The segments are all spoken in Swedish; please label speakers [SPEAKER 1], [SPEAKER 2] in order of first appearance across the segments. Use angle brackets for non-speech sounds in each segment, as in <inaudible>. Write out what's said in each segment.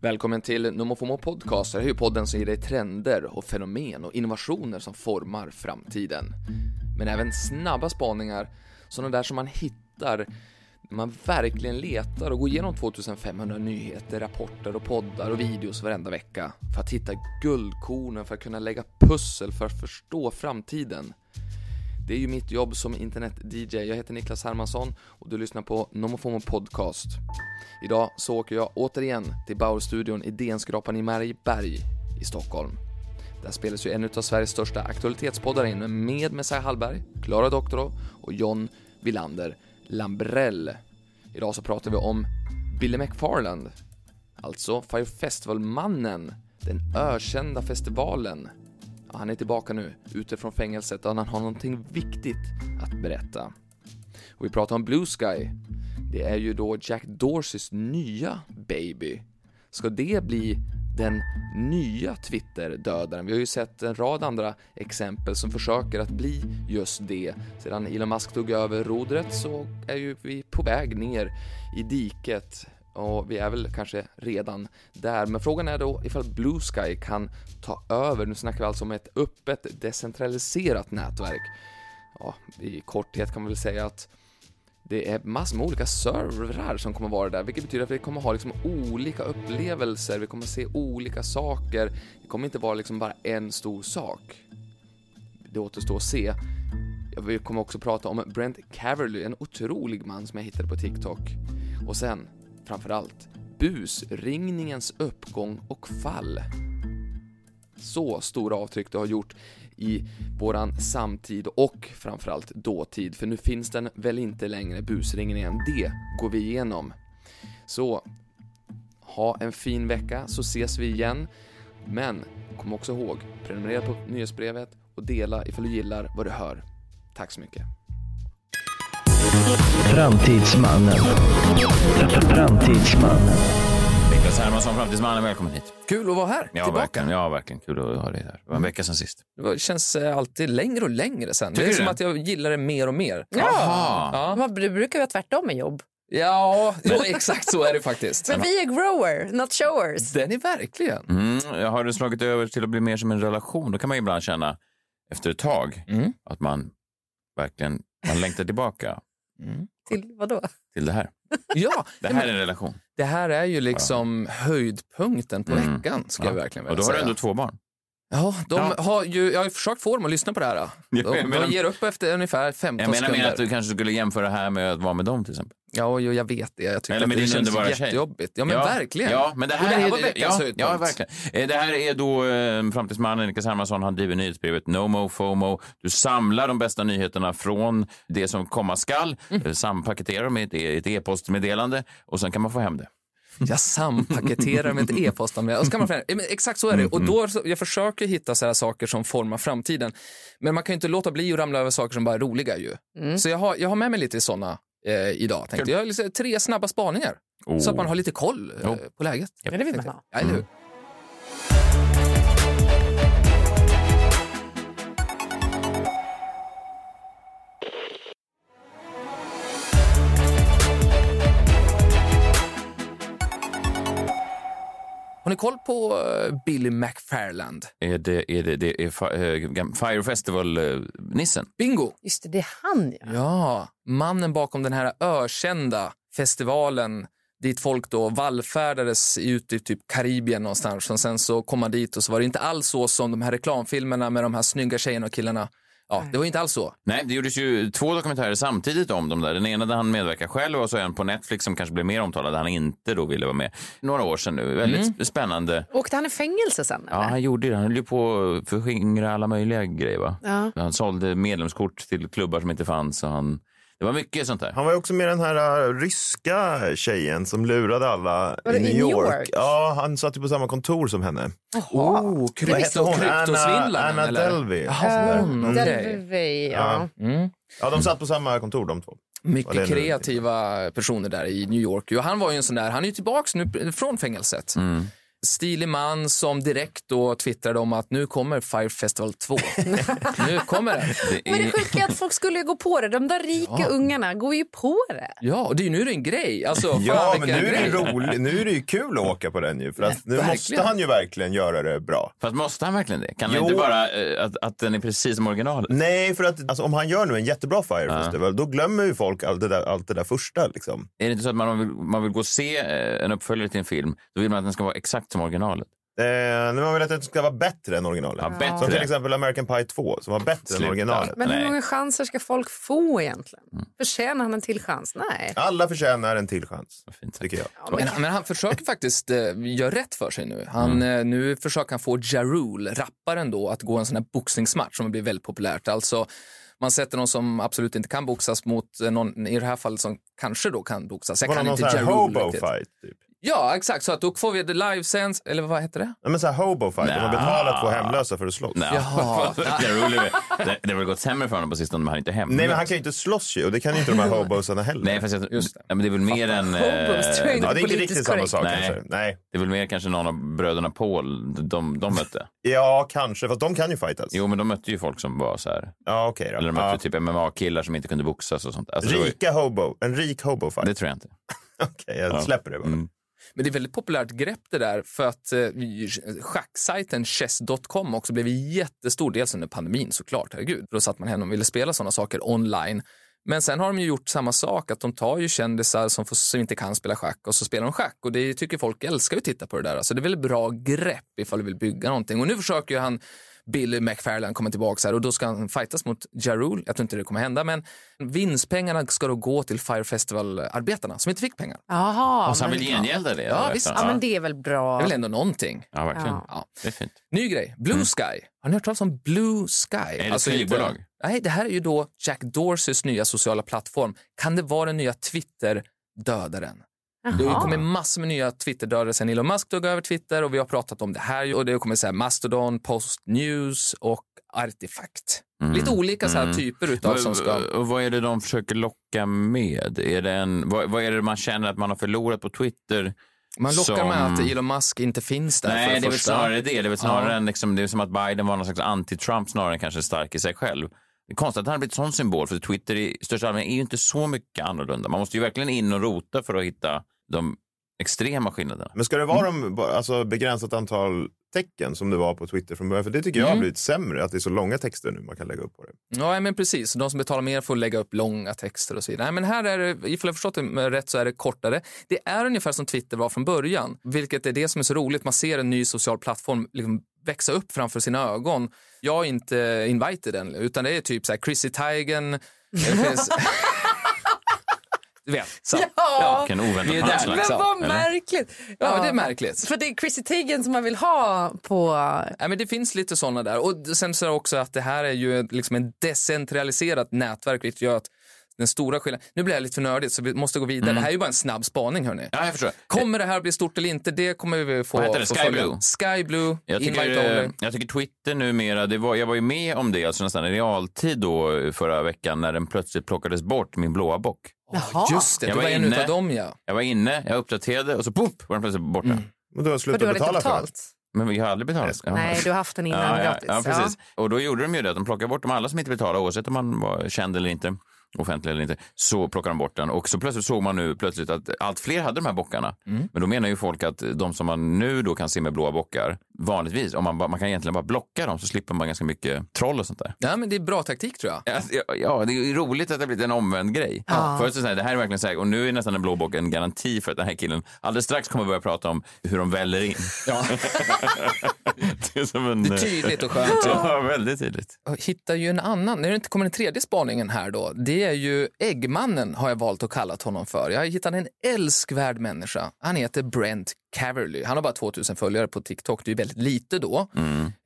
[SPEAKER 1] Välkommen till NomoFomo Podcast. Det här är ju podden som ger dig trender och fenomen och innovationer som formar framtiden. Men även snabba spaningar, sådana där som man hittar när man verkligen letar och går igenom 2500 nyheter, rapporter och poddar och videos varenda vecka för att hitta guldkornen för att kunna lägga pussel för att förstå framtiden. Det är ju mitt jobb som internet-DJ. Jag heter Niklas Hermansson och du lyssnar på NomoFomo Podcast. Idag så åker jag återigen till Bauer-studion i Denskrapan i Marieberg i Stockholm. Där spelas ju en av Sveriges största aktualitetspoddar in med Messiah Hallberg, Klara Doktorow och John Wilander Lambrell. Idag så pratar vi om Billy McFarland, alltså Fire Festival-mannen, den ökända festivalen. Ja, han är tillbaka nu, ute från fängelset, och han har någonting viktigt att berätta. Och vi pratar om Blue Sky, det är ju då Jack Dorseys nya baby. Ska det bli den nya Twitter-dödaren? Vi har ju sett en rad andra exempel som försöker att bli just det. Sedan Elon Musk tog över rodret så är ju vi på väg ner i diket och vi är väl kanske redan där. Men frågan är då ifall Blue Sky kan ta över. Nu snackar vi alltså om ett öppet decentraliserat nätverk. Ja, i korthet kan man väl säga att det är massor med olika servrar som kommer vara där, vilket betyder att vi kommer ha liksom olika upplevelser, vi kommer se olika saker. Det kommer inte vara liksom bara en stor sak. Det återstår att se. Vi kommer också prata om Brent Caverly, en otrolig man som jag hittade på TikTok. Och sen, framförallt, busringningens uppgång och fall. Så stora avtryck det har gjort i våran samtid och framförallt dåtid, för nu finns den väl inte längre, busringningen. Det går vi igenom. Så, ha en fin vecka så ses vi igen. Men kom också ihåg, prenumerera på nyhetsbrevet och dela ifall du gillar vad du hör. Tack så mycket.
[SPEAKER 2] Framtidsmannen. Framtidsmannen.
[SPEAKER 3] Niklas Hermansson, Framtidsmannen, välkommen hit.
[SPEAKER 1] Kul att vara här,
[SPEAKER 3] Ja, verkligen. Ja, verkligen. Kul att ha dig här. Det var en vecka sedan sist.
[SPEAKER 1] Det känns eh, alltid längre och längre sen.
[SPEAKER 3] Tycker
[SPEAKER 1] det är
[SPEAKER 3] du
[SPEAKER 1] som
[SPEAKER 3] det?
[SPEAKER 1] att jag gillar det mer och mer.
[SPEAKER 3] Jaha.
[SPEAKER 1] Ja,
[SPEAKER 4] Man br- brukar vara tvärtom med jobb.
[SPEAKER 1] ja <laughs> jo, exakt så är det faktiskt.
[SPEAKER 4] Men vi är grower, not showers.
[SPEAKER 1] Den är verkligen.
[SPEAKER 3] Mm, har du slagit över till att bli mer som en relation? Då kan man ju ibland känna efter ett tag
[SPEAKER 1] Mm.
[SPEAKER 3] att man verkligen man längtar tillbaka
[SPEAKER 4] Till vadå?
[SPEAKER 3] till det här.
[SPEAKER 1] Ja,
[SPEAKER 3] Det här är en relation.
[SPEAKER 1] Det här är ju liksom höjdpunkten på
[SPEAKER 3] Mm.
[SPEAKER 1] veckan, ska jag verkligen
[SPEAKER 3] Och
[SPEAKER 1] vilja
[SPEAKER 3] då har du
[SPEAKER 1] säga.
[SPEAKER 3] ändå två barn.
[SPEAKER 1] Ja, de
[SPEAKER 3] Ja.
[SPEAKER 1] Har ju, jag har ju försökt få dem att lyssna på det här. De,
[SPEAKER 3] <laughs> Ja, jag menar-
[SPEAKER 1] de ger upp efter ungefär 15
[SPEAKER 3] Jag menar mer
[SPEAKER 1] sekunder.
[SPEAKER 3] att du kanske skulle jämföra det här med att vara med dem till exempel.
[SPEAKER 1] Ja, jo, jag vet det. Jag tycker
[SPEAKER 3] Eller
[SPEAKER 1] att
[SPEAKER 3] med
[SPEAKER 1] det
[SPEAKER 3] din
[SPEAKER 1] känns
[SPEAKER 3] underbara tjej.
[SPEAKER 1] jättejobbigt. Ja, men verkligen.
[SPEAKER 3] Ja, men det här,
[SPEAKER 1] och det här
[SPEAKER 3] är-
[SPEAKER 1] var veckans
[SPEAKER 3] ja,
[SPEAKER 1] höjdpunkt.
[SPEAKER 3] ja, verkligen. Eh, Det här är då eh, framtidsmannen Niklas Hermansson. Han driver nyhetsbrevet NoMo FOMO. Du samlar de bästa nyheterna från det som komma skall. Mm. Sampaketerar dem i ett e- ett e-postmeddelande och sen kan man få hem det.
[SPEAKER 1] Jag sampaketerar
[SPEAKER 4] <laughs>
[SPEAKER 1] med ett e-post. om det. Och så kan man förändra- Ja, men Exakt så är det.
[SPEAKER 4] Mm-hmm.
[SPEAKER 1] Och då, så- jag försöker hitta så här saker som formar framtiden. Men man kan ju inte låta bli att ramla över saker som bara är roliga. Ju.
[SPEAKER 4] Mm.
[SPEAKER 1] Så jag har, jag har med mig lite sådana eh, idag. Tänkte. jag. Jag har liksom tre snabba spaningar. Så att man har lite koll eh,
[SPEAKER 3] Jo.
[SPEAKER 1] på läget.
[SPEAKER 4] Oh. Ja, det vill man ha. Mm.
[SPEAKER 1] Ja, eller hur? Har ni koll på eh, Billy McFarland?
[SPEAKER 3] Är det, är det, det är fi- eh, gam- Fire Festival-nissen?
[SPEAKER 1] Bingo!
[SPEAKER 4] Just det, det är han ja.
[SPEAKER 1] Ja, mannen bakom den här ökända festivalen dit folk då vallfärdades ut i typ Karibien någonstans och sen så kom man dit och så var det inte alls så som de här reklamfilmerna med de här snygga tjejerna och killarna. Ja, det var inte alls så.
[SPEAKER 3] Nej, det gjordes ju två dokumentärer samtidigt om dem där. Den ena där han medverkar själv och så en på Netflix som kanske blev mer omtalad där han inte då ville vara med. Några år sedan nu. Väldigt
[SPEAKER 1] Mm.
[SPEAKER 3] spännande.
[SPEAKER 4] Åkte han i fängelse sen?
[SPEAKER 3] Ja,
[SPEAKER 4] eller?
[SPEAKER 3] han gjorde det. Han höll ju på att förskingra alla möjliga grejer. Va?
[SPEAKER 4] Ja.
[SPEAKER 3] Han sålde medlemskort till klubbar som inte fanns. Och han... Det var mycket sånt där.
[SPEAKER 5] Han var ju också med den här äh, ryska tjejen som lurade alla
[SPEAKER 4] Var
[SPEAKER 5] i
[SPEAKER 4] det
[SPEAKER 5] New
[SPEAKER 4] i New
[SPEAKER 5] York.
[SPEAKER 4] York?
[SPEAKER 5] Ja, han satt ju på samma kontor som henne.
[SPEAKER 1] Oh,
[SPEAKER 5] Vad hette hon? Anna,
[SPEAKER 1] kryptosvindlaren
[SPEAKER 5] Anna Delvey.
[SPEAKER 1] Jaha, hon,
[SPEAKER 4] Mm.
[SPEAKER 1] okej.
[SPEAKER 4] Delvey, ja.
[SPEAKER 1] Mm.
[SPEAKER 5] Ja, de satt på samma kontor de två. Vad det
[SPEAKER 1] Mycket
[SPEAKER 5] nu är.
[SPEAKER 3] Mm.
[SPEAKER 1] kreativa personer där i New York. Och han var ju en sån där, han är ju tillbaks nu från fängelset. stilig man som direkt då twittrade om att nu kommer Fire Festival
[SPEAKER 3] <laughs>
[SPEAKER 1] 2. nu kommer den.
[SPEAKER 3] Det
[SPEAKER 4] Men det
[SPEAKER 3] är...
[SPEAKER 4] sjuka är att folk skulle ju gå på det. De där rika ungarna går ju på det.
[SPEAKER 1] Ja, och det är ju nu är det en grej.
[SPEAKER 5] <laughs>
[SPEAKER 1] Alltså,
[SPEAKER 5] Ja,
[SPEAKER 1] fan,
[SPEAKER 5] men
[SPEAKER 1] vilken
[SPEAKER 5] nu är, det
[SPEAKER 1] grej.
[SPEAKER 5] rolig, nu är det ju kul att åka på den ju. För att nu
[SPEAKER 1] Verkligen.
[SPEAKER 5] måste han ju verkligen göra det bra.
[SPEAKER 3] Fast måste han verkligen det? Kan han
[SPEAKER 5] Jo.
[SPEAKER 3] inte bara eh, att, att den är precis som originalet?
[SPEAKER 5] Nej, för att alltså, om han gör nu en jättebra Fire Festival, då glömmer ju folk allt det där, allt det där första. Liksom.
[SPEAKER 3] Är det inte så att man vill, man vill gå och se eh, en uppföljare till en film, då vill man att den ska vara exakt som originalet?
[SPEAKER 5] Eh, nu har man velat att det ska vara bättre än originalet.
[SPEAKER 3] Ja, bättre.
[SPEAKER 5] Som till exempel American Pie 2, som var bättre
[SPEAKER 3] Sluta.
[SPEAKER 5] än originalet.
[SPEAKER 4] Men
[SPEAKER 3] Nej.
[SPEAKER 4] hur många chanser ska folk få egentligen? Förtjänar han en till chans? Nej.
[SPEAKER 5] Alla förtjänar en till chans,
[SPEAKER 3] Vad fint.
[SPEAKER 5] tycker jag.
[SPEAKER 1] Men, men han försöker faktiskt eh, göra rätt för sig nu. Han,
[SPEAKER 5] Mm.
[SPEAKER 1] eh, nu försöker han få Ja Rule, rapparen då, att gå en sån här boxningsmatch som blir väldigt populärt. Alltså, man sätter någon som absolut inte kan boxas mot eh, någon, i det här fallet, som kanske då kan boxas. Jag
[SPEAKER 5] Var det
[SPEAKER 1] kan
[SPEAKER 5] någon
[SPEAKER 1] inte
[SPEAKER 5] sån här
[SPEAKER 1] Ja Rule
[SPEAKER 5] hobo
[SPEAKER 1] riktigt.
[SPEAKER 5] fight? Typ.
[SPEAKER 1] Ja, exakt. Så att då får vi det livesense, eller vad heter det?
[SPEAKER 5] Ja, men så här hobo fight, de har betalat två hemlösa för att slåss.
[SPEAKER 3] Nej. <laughs>
[SPEAKER 1] Jaha.
[SPEAKER 3] det, det har väl gått sämre för honom på sistone, men han är inte hemma.
[SPEAKER 5] Nej, men han kan ju inte slåss ju och det kan ju inte de här hobosarna heller.
[SPEAKER 3] Nej, fast jag,
[SPEAKER 1] Just det.
[SPEAKER 3] Ja, men det är väl mer än... eh,
[SPEAKER 4] Hobos, tror jag
[SPEAKER 5] ja, det är inte
[SPEAKER 4] Politiskt
[SPEAKER 5] riktigt samma
[SPEAKER 4] korrekt.
[SPEAKER 5] sak
[SPEAKER 3] Nej.
[SPEAKER 5] kanske. Nej.
[SPEAKER 3] Det är väl mer kanske någon av bröderna Paul de, de mötte.
[SPEAKER 5] Ja, kanske. Fast de kan ju fightas.
[SPEAKER 3] Jo, men de mötte ju folk som var så här.
[SPEAKER 5] Ja, okej
[SPEAKER 3] Eller de
[SPEAKER 5] då.
[SPEAKER 3] mötte
[SPEAKER 5] Ja.
[SPEAKER 3] typ MMA-killar som inte kunde boxas och sånt. Alltså, det, var ju,
[SPEAKER 5] Rika hobo. En rik hobo fight.
[SPEAKER 3] det tror jag inte.
[SPEAKER 5] Okej, jag släpper det bara.
[SPEAKER 3] Mm.
[SPEAKER 1] Men det är väldigt populärt grepp det där för att eh, schacksajten chess.com också blev jättestor, dels under pandemin såklart, herregud. Då satt man hemma och ville spela sådana saker online. Men sen har de ju gjort samma sak, att de tar ju kändisar som, får, som inte kan spela schack och så spelar de schack och det tycker folk älskar ju att titta på det där. Så det är väl ett bra grepp ifall du vill bygga någonting. Och nu försöker ju han Billy McFarland kommer tillbaka här och då ska han fightas mot Ja Rule. Jag tror inte det kommer hända, men vinstpengarna ska då gå till Fire Festival-arbetarna som inte fick pengar.
[SPEAKER 4] Jaha.
[SPEAKER 3] Och så han
[SPEAKER 4] men-
[SPEAKER 3] vill gengälda det?
[SPEAKER 1] Ja,
[SPEAKER 3] eller?
[SPEAKER 1] visst.
[SPEAKER 4] Ja, men det är väl bra.
[SPEAKER 1] Det är väl ändå någonting.
[SPEAKER 3] ja, verkligen.
[SPEAKER 4] Ja.
[SPEAKER 1] Ja.
[SPEAKER 3] Det är fint.
[SPEAKER 1] Ny grej, Blue Sky. Har ni hört talas om Blue Sky? Är
[SPEAKER 3] Mm. det ett flygbolag?
[SPEAKER 1] nej, det här är ju då Jack Dorseys nya sociala plattform. Kan det vara den nya Twitter-dödaren? Det
[SPEAKER 4] Jaha.
[SPEAKER 1] kommer massor med nya Twitter-dödare sen Elon Musk tog över Twitter och vi har pratat om det här ju. och det kommer så här Mastodon, Post News och Artifact. Lite olika så här typer utav som ska...
[SPEAKER 3] Mm. Och- Och vad är det de försöker locka med? Är det en, vad, vad är det man känner att man har förlorat på Twitter?
[SPEAKER 1] Man lockar
[SPEAKER 3] som-
[SPEAKER 1] med att Elon Musk inte finns där för
[SPEAKER 3] Nej, det är väl
[SPEAKER 1] första.
[SPEAKER 3] snarare det. Det är väl snarare
[SPEAKER 1] Ja.
[SPEAKER 3] än liksom, det är som att Biden var någon slags anti-Trump snarare än kanske stark i sig själv. Det är konstigt att han har blivit sån symbol, för Twitter i största allmänhet är ju inte så mycket annorlunda. Man måste ju verkligen in och rota för att hitta de extrema skillnaderna.
[SPEAKER 5] Men ska det
[SPEAKER 3] Mm.
[SPEAKER 5] vara de, bara- alltså, begränsat antal tecken som det var på Twitter från början? För det tycker
[SPEAKER 3] Mm.
[SPEAKER 5] jag har blivit sämre, att det är så långa texter nu man kan lägga upp på det.
[SPEAKER 1] Ja, men precis. De som betalar mer får lägga upp långa texter och så vidare. Nej, men här är det, ifall jag förstått det rätt så är det kortare. Det är ungefär som Twitter var från början, vilket är det som är så roligt. Man ser en ny social plattform liksom växa upp framför sina ögon. Jag är inte invited än, utan det är typ så här Chrissy Teigen. Det finns... <laughs> du vet, så.
[SPEAKER 4] Ja.
[SPEAKER 3] Vilken oväntad
[SPEAKER 1] Vi är där.
[SPEAKER 3] punchline.
[SPEAKER 4] Men vad märkligt.
[SPEAKER 1] Ja, det är märkligt.
[SPEAKER 4] För det är Chrissy Teigen som man vill ha på...
[SPEAKER 1] Nej, men det finns lite sådana där. Och sen så är det också att det här är ju liksom en decentraliserat nätverk, vilket gör att den stora skillnaden... Nu blir jag lite för nördigt, så vi måste gå vidare. Det här är ju bara en snabb spaning, hörni.
[SPEAKER 3] Mm. Ja, jag förstår.
[SPEAKER 1] Kommer det här bli stort eller inte? Det kommer vi få...
[SPEAKER 3] Vad heter det?
[SPEAKER 1] få
[SPEAKER 3] Sky
[SPEAKER 1] följa.
[SPEAKER 3] Blue?
[SPEAKER 1] Sky Blue,
[SPEAKER 3] Jag
[SPEAKER 1] Invite Only.
[SPEAKER 3] tycker, eh, jag tycker Twitter numera, det var, jag var ju med om det alltså nästan i realtid då eh, förra veckan när den plötsligt plockades bort, min blåa bock.
[SPEAKER 4] Jaha.
[SPEAKER 1] Just det,
[SPEAKER 3] Jag
[SPEAKER 1] du
[SPEAKER 3] var
[SPEAKER 1] var en
[SPEAKER 3] inne.
[SPEAKER 1] utav dem ja.
[SPEAKER 3] Jag var inne, jag uppdaterade och så poff var den plötsligt borta.
[SPEAKER 5] Men du har
[SPEAKER 4] För
[SPEAKER 5] slutat
[SPEAKER 4] du har inte
[SPEAKER 5] betala för det.
[SPEAKER 4] betalt.
[SPEAKER 3] Men jag har aldrig betalat. Ja.
[SPEAKER 4] Nej, du har haft den innan
[SPEAKER 3] ja,
[SPEAKER 4] gratis.
[SPEAKER 3] ja, precis. Och då gjorde de ju det att de plockade bort de alla som inte betalade oavsett om man var känd eller inte offentlig eller inte, så plockade de bort den. Och så plötsligt såg man nu plötsligt att allt fler hade de här bockarna. Men då menar ju folk att de som man nu då kan se med blåa bockar, vanligtvis, om man, bara- man kan egentligen bara blocka dem så slipper man ganska mycket troll och sånt där.
[SPEAKER 1] ja men det är bra taktik tror jag.
[SPEAKER 3] Alltså, ja, ja, det är ju roligt att det har blivit en omvänd grej. Förut så sa jag, det här är verkligen så här, och nu är nästan en blå bock en garanti för att den här killen alldeles strax kommer börja prata om hur de väller in.
[SPEAKER 1] Ja.
[SPEAKER 3] <laughs> Det är som en...
[SPEAKER 1] Det är tydligt och skönt.
[SPEAKER 3] Ja, väldigt tydligt.
[SPEAKER 1] hittar ju en annan, när det inte kommer den tredje spaningen här då, det är ju Äggmannen har jag valt att kalla honom för. Jag hittade en älskvärd människa. Han heter Brent Caverly. Han har bara 2000 följare på TikTok, det är ju väldigt lite då.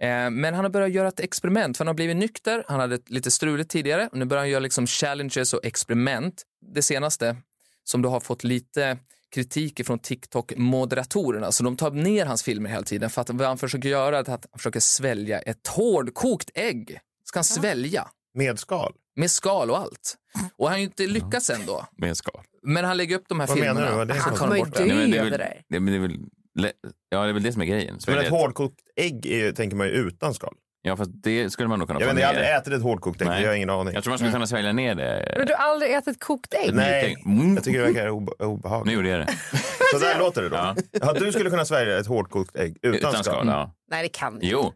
[SPEAKER 1] Eh, men han har börjat göra ett experiment, för han har blivit nykter, han hade ett lite struligt tidigare och nu börjar han göra liksom challenges och experiment. Det senaste som då har fått lite kritik från TikTok-moderatorerna. Så de tar ner hans filmer hela tiden för att vad han försöker göra är att han försöker svälja ett hårdkokt ägg. Ska han svälja
[SPEAKER 5] Med skal?
[SPEAKER 1] med skal och allt. Och han har ju inte lyckats ändå.
[SPEAKER 3] Med skal.
[SPEAKER 1] Men han lägger upp de här
[SPEAKER 5] Vad menar
[SPEAKER 1] filmerna.
[SPEAKER 5] du? Vad är det
[SPEAKER 1] han tar
[SPEAKER 5] som-
[SPEAKER 4] Vad är
[SPEAKER 1] bort det.
[SPEAKER 4] det?
[SPEAKER 3] Nej, men det, är
[SPEAKER 4] över
[SPEAKER 3] väl,
[SPEAKER 4] dig.
[SPEAKER 3] det, men det är väl Le- Ja, det är väl det som är grejen. Så
[SPEAKER 5] Men
[SPEAKER 3] jag
[SPEAKER 5] ett
[SPEAKER 3] vet.
[SPEAKER 5] hårdkokt ägg är, tänker man ju utan skal.
[SPEAKER 3] Ja, fast det skulle man nog kunna
[SPEAKER 5] Jag,
[SPEAKER 3] få
[SPEAKER 5] vet, inte, jag har aldrig
[SPEAKER 3] ner.
[SPEAKER 5] ätit ett hårdkokt ägg,
[SPEAKER 3] Nej.
[SPEAKER 5] jag har ingen aning.
[SPEAKER 3] Jag tror man skulle kunna svälja ner det.
[SPEAKER 4] Men du har aldrig ätit kokt ägg?
[SPEAKER 5] Nej,
[SPEAKER 3] Mm.
[SPEAKER 5] jag tycker det verkar obe-
[SPEAKER 3] Nu
[SPEAKER 5] obehagligt.
[SPEAKER 3] gjorde
[SPEAKER 5] <laughs>
[SPEAKER 3] jag det.
[SPEAKER 5] Så där låter det då.
[SPEAKER 3] Ja.
[SPEAKER 5] Ja. du skulle kunna svälja ett hårdkokt ägg utan,
[SPEAKER 3] Utan
[SPEAKER 5] skal. Mm.
[SPEAKER 3] skal, ja.
[SPEAKER 4] Nej, det kan du
[SPEAKER 3] Jo.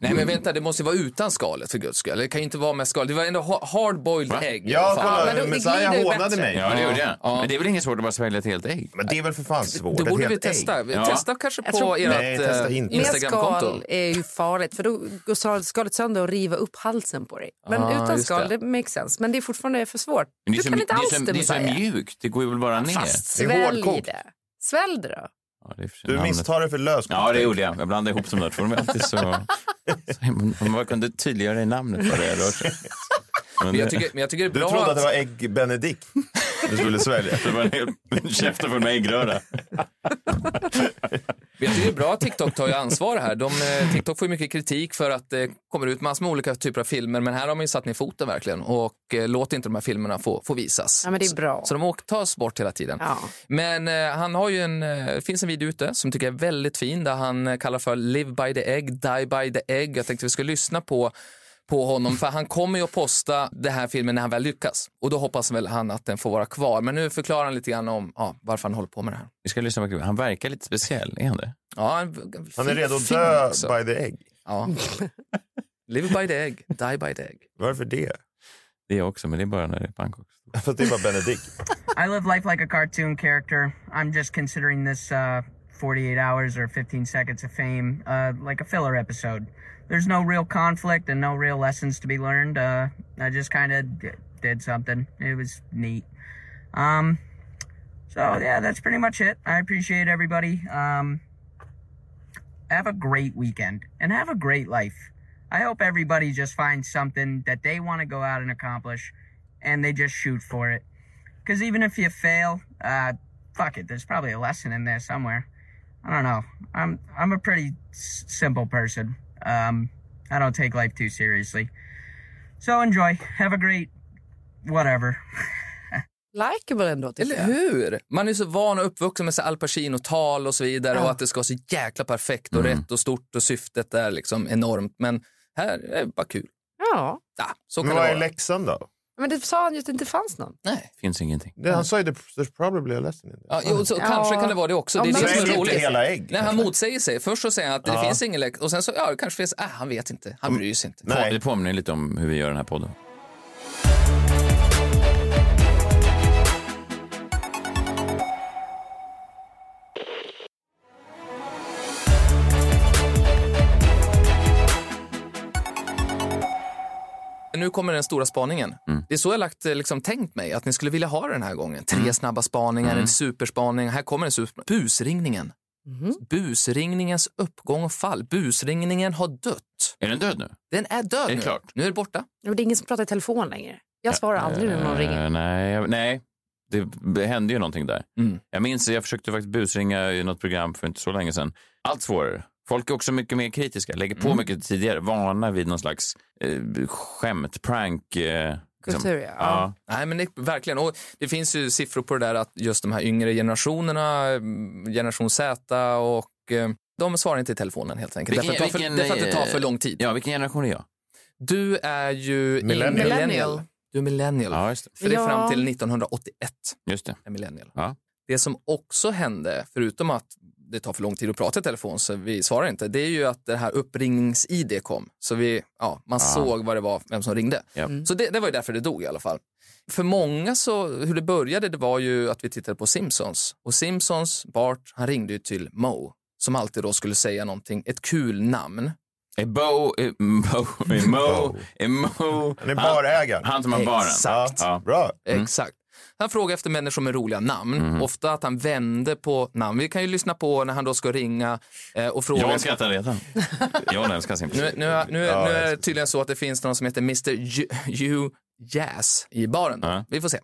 [SPEAKER 1] Nej men vänta, det måste ju vara utan skalet för guds skull. Det kan ju inte vara med skal. Det var ändå ha- hardboiled
[SPEAKER 3] Va?
[SPEAKER 1] ägg.
[SPEAKER 5] Ja,
[SPEAKER 1] Fan.
[SPEAKER 5] kolla,
[SPEAKER 4] men då- det
[SPEAKER 5] Messiah
[SPEAKER 4] glider ju
[SPEAKER 5] hånade
[SPEAKER 4] bättre.
[SPEAKER 5] mig.
[SPEAKER 3] Ja, det gjorde jag.
[SPEAKER 1] Ja.
[SPEAKER 3] Men det är väl inget svårt att bara svälja ett helt ägg?
[SPEAKER 5] Men det är väl för fan svårt?
[SPEAKER 1] Det
[SPEAKER 5] Ett
[SPEAKER 1] borde vi
[SPEAKER 5] helt ägg.
[SPEAKER 1] testa. Vi
[SPEAKER 3] Ja.
[SPEAKER 1] Testa kanske
[SPEAKER 4] Jag
[SPEAKER 1] på
[SPEAKER 4] tror-
[SPEAKER 1] ert
[SPEAKER 5] Nej, testa
[SPEAKER 1] eh,
[SPEAKER 5] inte.
[SPEAKER 4] Med
[SPEAKER 1] Instagramkonto.
[SPEAKER 4] skal är ju farligt, för då går skal- skalet sönder och riva upp halsen på dig. Men
[SPEAKER 1] Ah,
[SPEAKER 4] utan
[SPEAKER 1] just
[SPEAKER 4] skal,
[SPEAKER 1] det.
[SPEAKER 4] det makes sense. Men det är fortfarande för svårt.
[SPEAKER 3] Men
[SPEAKER 4] Du
[SPEAKER 3] så-
[SPEAKER 4] kan inte alls
[SPEAKER 3] det är så,
[SPEAKER 4] det,
[SPEAKER 3] det är så
[SPEAKER 4] Messiah.
[SPEAKER 3] mjukt, det går ju väl bara ner.
[SPEAKER 4] Fast
[SPEAKER 5] Det är
[SPEAKER 4] svälj
[SPEAKER 5] hårdkokt.
[SPEAKER 4] det. Svälj det då.
[SPEAKER 3] Ja, det är för sig
[SPEAKER 5] Du
[SPEAKER 3] namnet.
[SPEAKER 5] misstar det för löskokt.
[SPEAKER 3] Ja, det gjorde jag. Jag blandade ihop de där två. De är alltid så...
[SPEAKER 5] <laughs>
[SPEAKER 3] så himla- Om man kunde tydliggöra i namnet vad det rör
[SPEAKER 5] <laughs>
[SPEAKER 3] sig om. Men
[SPEAKER 1] Men jag tycker, men jag tycker det är
[SPEAKER 5] Du
[SPEAKER 1] bra
[SPEAKER 5] trodde att
[SPEAKER 1] att...
[SPEAKER 5] det var ägg Benedikt du skulle svälja.
[SPEAKER 3] det var en hel en käften full med äggröra.
[SPEAKER 1] Jag tycker det är bra att TikTok tar ju ansvar här. De, eh, TikTok får ju mycket kritik för att det kommer ut massor med olika typer av filmer, men här har man ju satt ner foten verkligen och eh, låt inte de här filmerna få, få visas.
[SPEAKER 4] Ja, men det är bra.
[SPEAKER 1] Så de åk- tas bort hela tiden.
[SPEAKER 4] Ja.
[SPEAKER 1] Men eh, han har ju en, eh, det finns en video ute som tycker jag är väldigt fin där han eh, kallar för Live by the egg, die by the egg. Jag tänkte vi skulle lyssna på, på honom för han kommer ju att posta den här filmen när han väl lyckas och då hoppas väl han att den får vara kvar. Men nu förklarar han lite grann om ja, varför han håller på med det här.
[SPEAKER 3] Vi ska lyssna på klippet. Han verkar lite speciell, är han det?
[SPEAKER 1] Ja, en,
[SPEAKER 5] Han är
[SPEAKER 1] fin
[SPEAKER 5] redo att
[SPEAKER 1] film
[SPEAKER 5] dö
[SPEAKER 1] också.
[SPEAKER 5] by the egg.
[SPEAKER 1] Ja. Live by the egg, die by the egg.
[SPEAKER 5] Varför det? <laughs>
[SPEAKER 3] Det är jag också, men det är bara när det är Bangkok.
[SPEAKER 5] För att det var Benedikt.
[SPEAKER 2] I live life like a cartoon character. I'm just considering this uh, 48 hours or 15 seconds of fame uh, like a filler episode. There's no real conflict and no real lessons to be learned. Uh, I just kind of d- did something. It was neat. Um, so, yeah, that's pretty much it. I appreciate everybody. Um, have a great weekend and have a great life. I hope everybody just finds something that they want to go out and accomplish and they just shoot for it. Because even if you fail, uh, fuck it. There's probably a lesson in there somewhere. I don't know. I'm I'm a pretty s- simple person. Um, I don't take life too seriously. So enjoy. Have a great whatever.
[SPEAKER 4] Likeable ändå, tycker
[SPEAKER 1] Eller
[SPEAKER 4] jag.
[SPEAKER 1] hur? Man är så van och uppvuxen med så Al Pacino-tal och så vidare och att det ska vara så jäkla perfekt och rätt och stort och syftet är liksom enormt. Men här är det bara kul.
[SPEAKER 4] Ja.
[SPEAKER 1] Ja, så kan
[SPEAKER 5] Men
[SPEAKER 1] det
[SPEAKER 5] vad
[SPEAKER 1] vara.
[SPEAKER 5] är läxan då?
[SPEAKER 4] Men det sa han ju att det inte fanns någon.
[SPEAKER 1] Nej.
[SPEAKER 3] Finns ingenting.
[SPEAKER 5] Det, han sa ju there's probably a lesson in
[SPEAKER 1] Ja, jo, så
[SPEAKER 4] Ja.
[SPEAKER 1] Kanske kan det vara det också.
[SPEAKER 4] Ja,
[SPEAKER 1] det är
[SPEAKER 4] men-
[SPEAKER 1] det som
[SPEAKER 5] Svälj
[SPEAKER 1] är
[SPEAKER 5] inte
[SPEAKER 1] roligt.
[SPEAKER 5] hela ägg.
[SPEAKER 1] Nej, han motsäger sig. Först så säger han att det
[SPEAKER 5] Ja. Mm.
[SPEAKER 1] finns ingen läx och sen så, ja, det kanske finns, äh, han vet inte, han bryr sig inte.
[SPEAKER 5] Nej.
[SPEAKER 3] Det påminner lite om hur vi gör den här podden.
[SPEAKER 1] Nu kommer den stora spaningen.
[SPEAKER 3] Mm.
[SPEAKER 1] Det är så jag lagt, eh, liksom, tänkt mig att ni skulle vilja ha det den här gången. Tre
[SPEAKER 3] Mm.
[SPEAKER 1] snabba spaningar, en superspaning. Här kommer en super... Busringningen. Busringningens uppgång och fall. Busringningen har dött.
[SPEAKER 3] Är den död nu?
[SPEAKER 1] Den är död
[SPEAKER 3] Det är
[SPEAKER 1] nu.
[SPEAKER 3] klart.
[SPEAKER 1] Nu är det borta.
[SPEAKER 4] Och det är ingen som pratar i telefon längre. Jag svarar aldrig när någon
[SPEAKER 3] Eh,
[SPEAKER 4] ringer.
[SPEAKER 3] nej, jag- nej, det b- hände ju någonting där.
[SPEAKER 1] Mm.
[SPEAKER 3] Jag minns, jag försökte faktiskt busringa i något program för inte så länge sedan. Allt svårare. Folk är också mycket mer kritiska, lägger på mycket tidigare, vana vid någon slags eh, skämt, prank. Eh,
[SPEAKER 4] Kultur, ja.
[SPEAKER 3] ja.
[SPEAKER 1] Nej, men det, verkligen. Och det finns ju siffror på det där att just de här yngre generationerna, eh, generation Z och eh, de svarar inte i telefonen helt enkelt.
[SPEAKER 3] Vilken-
[SPEAKER 1] därför, att det tar för,
[SPEAKER 3] vilken,
[SPEAKER 1] därför att det tar för
[SPEAKER 3] eh,
[SPEAKER 1] lång tid.
[SPEAKER 3] Ja, vilken generation är jag?
[SPEAKER 1] Du är ju i-
[SPEAKER 5] Millennial.
[SPEAKER 4] Millennial.
[SPEAKER 1] Du är millennial.
[SPEAKER 3] Ja, just
[SPEAKER 1] För det är fram
[SPEAKER 4] Ja.
[SPEAKER 1] till 1981.
[SPEAKER 3] det. Just det.
[SPEAKER 1] en millennial.
[SPEAKER 3] Ja.
[SPEAKER 1] Det som också hände, förutom att det tar för lång tid att prata i telefon så vi svarar inte, det är ju att det här uppringnings-id kom. Så vi, ja, man såg vad det var, vem som ringde.
[SPEAKER 3] Ah. Ja.
[SPEAKER 1] Så det, det var ju därför det dog i alla fall. För många så, hur det började, det var ju att vi tittade på Simpsons. Och Simpsons, Bart, han ringde ju till Mo som alltid då skulle säga någonting, ett kul namn.
[SPEAKER 3] Är Bo, är Mo, är Mo, är Mo.
[SPEAKER 5] Han är barägaren.
[SPEAKER 3] Han som har baren.
[SPEAKER 1] Exakt.
[SPEAKER 3] Ja.
[SPEAKER 5] Bra.
[SPEAKER 1] Exakt. Han frågade efter människor med roliga namn. Ofta att han vände på namn. Vi kan ju lyssna på när han då ska ringa eh, och fråga.
[SPEAKER 3] Jag skrattar redan. Jag älskar
[SPEAKER 1] Nu, <laughs>
[SPEAKER 3] Simpsons.
[SPEAKER 1] nu, nu, nu är det tydligen så att det finns någon som heter Mr. Ju- Hugh Jazz i baren.
[SPEAKER 3] Ja.
[SPEAKER 1] Vi får se.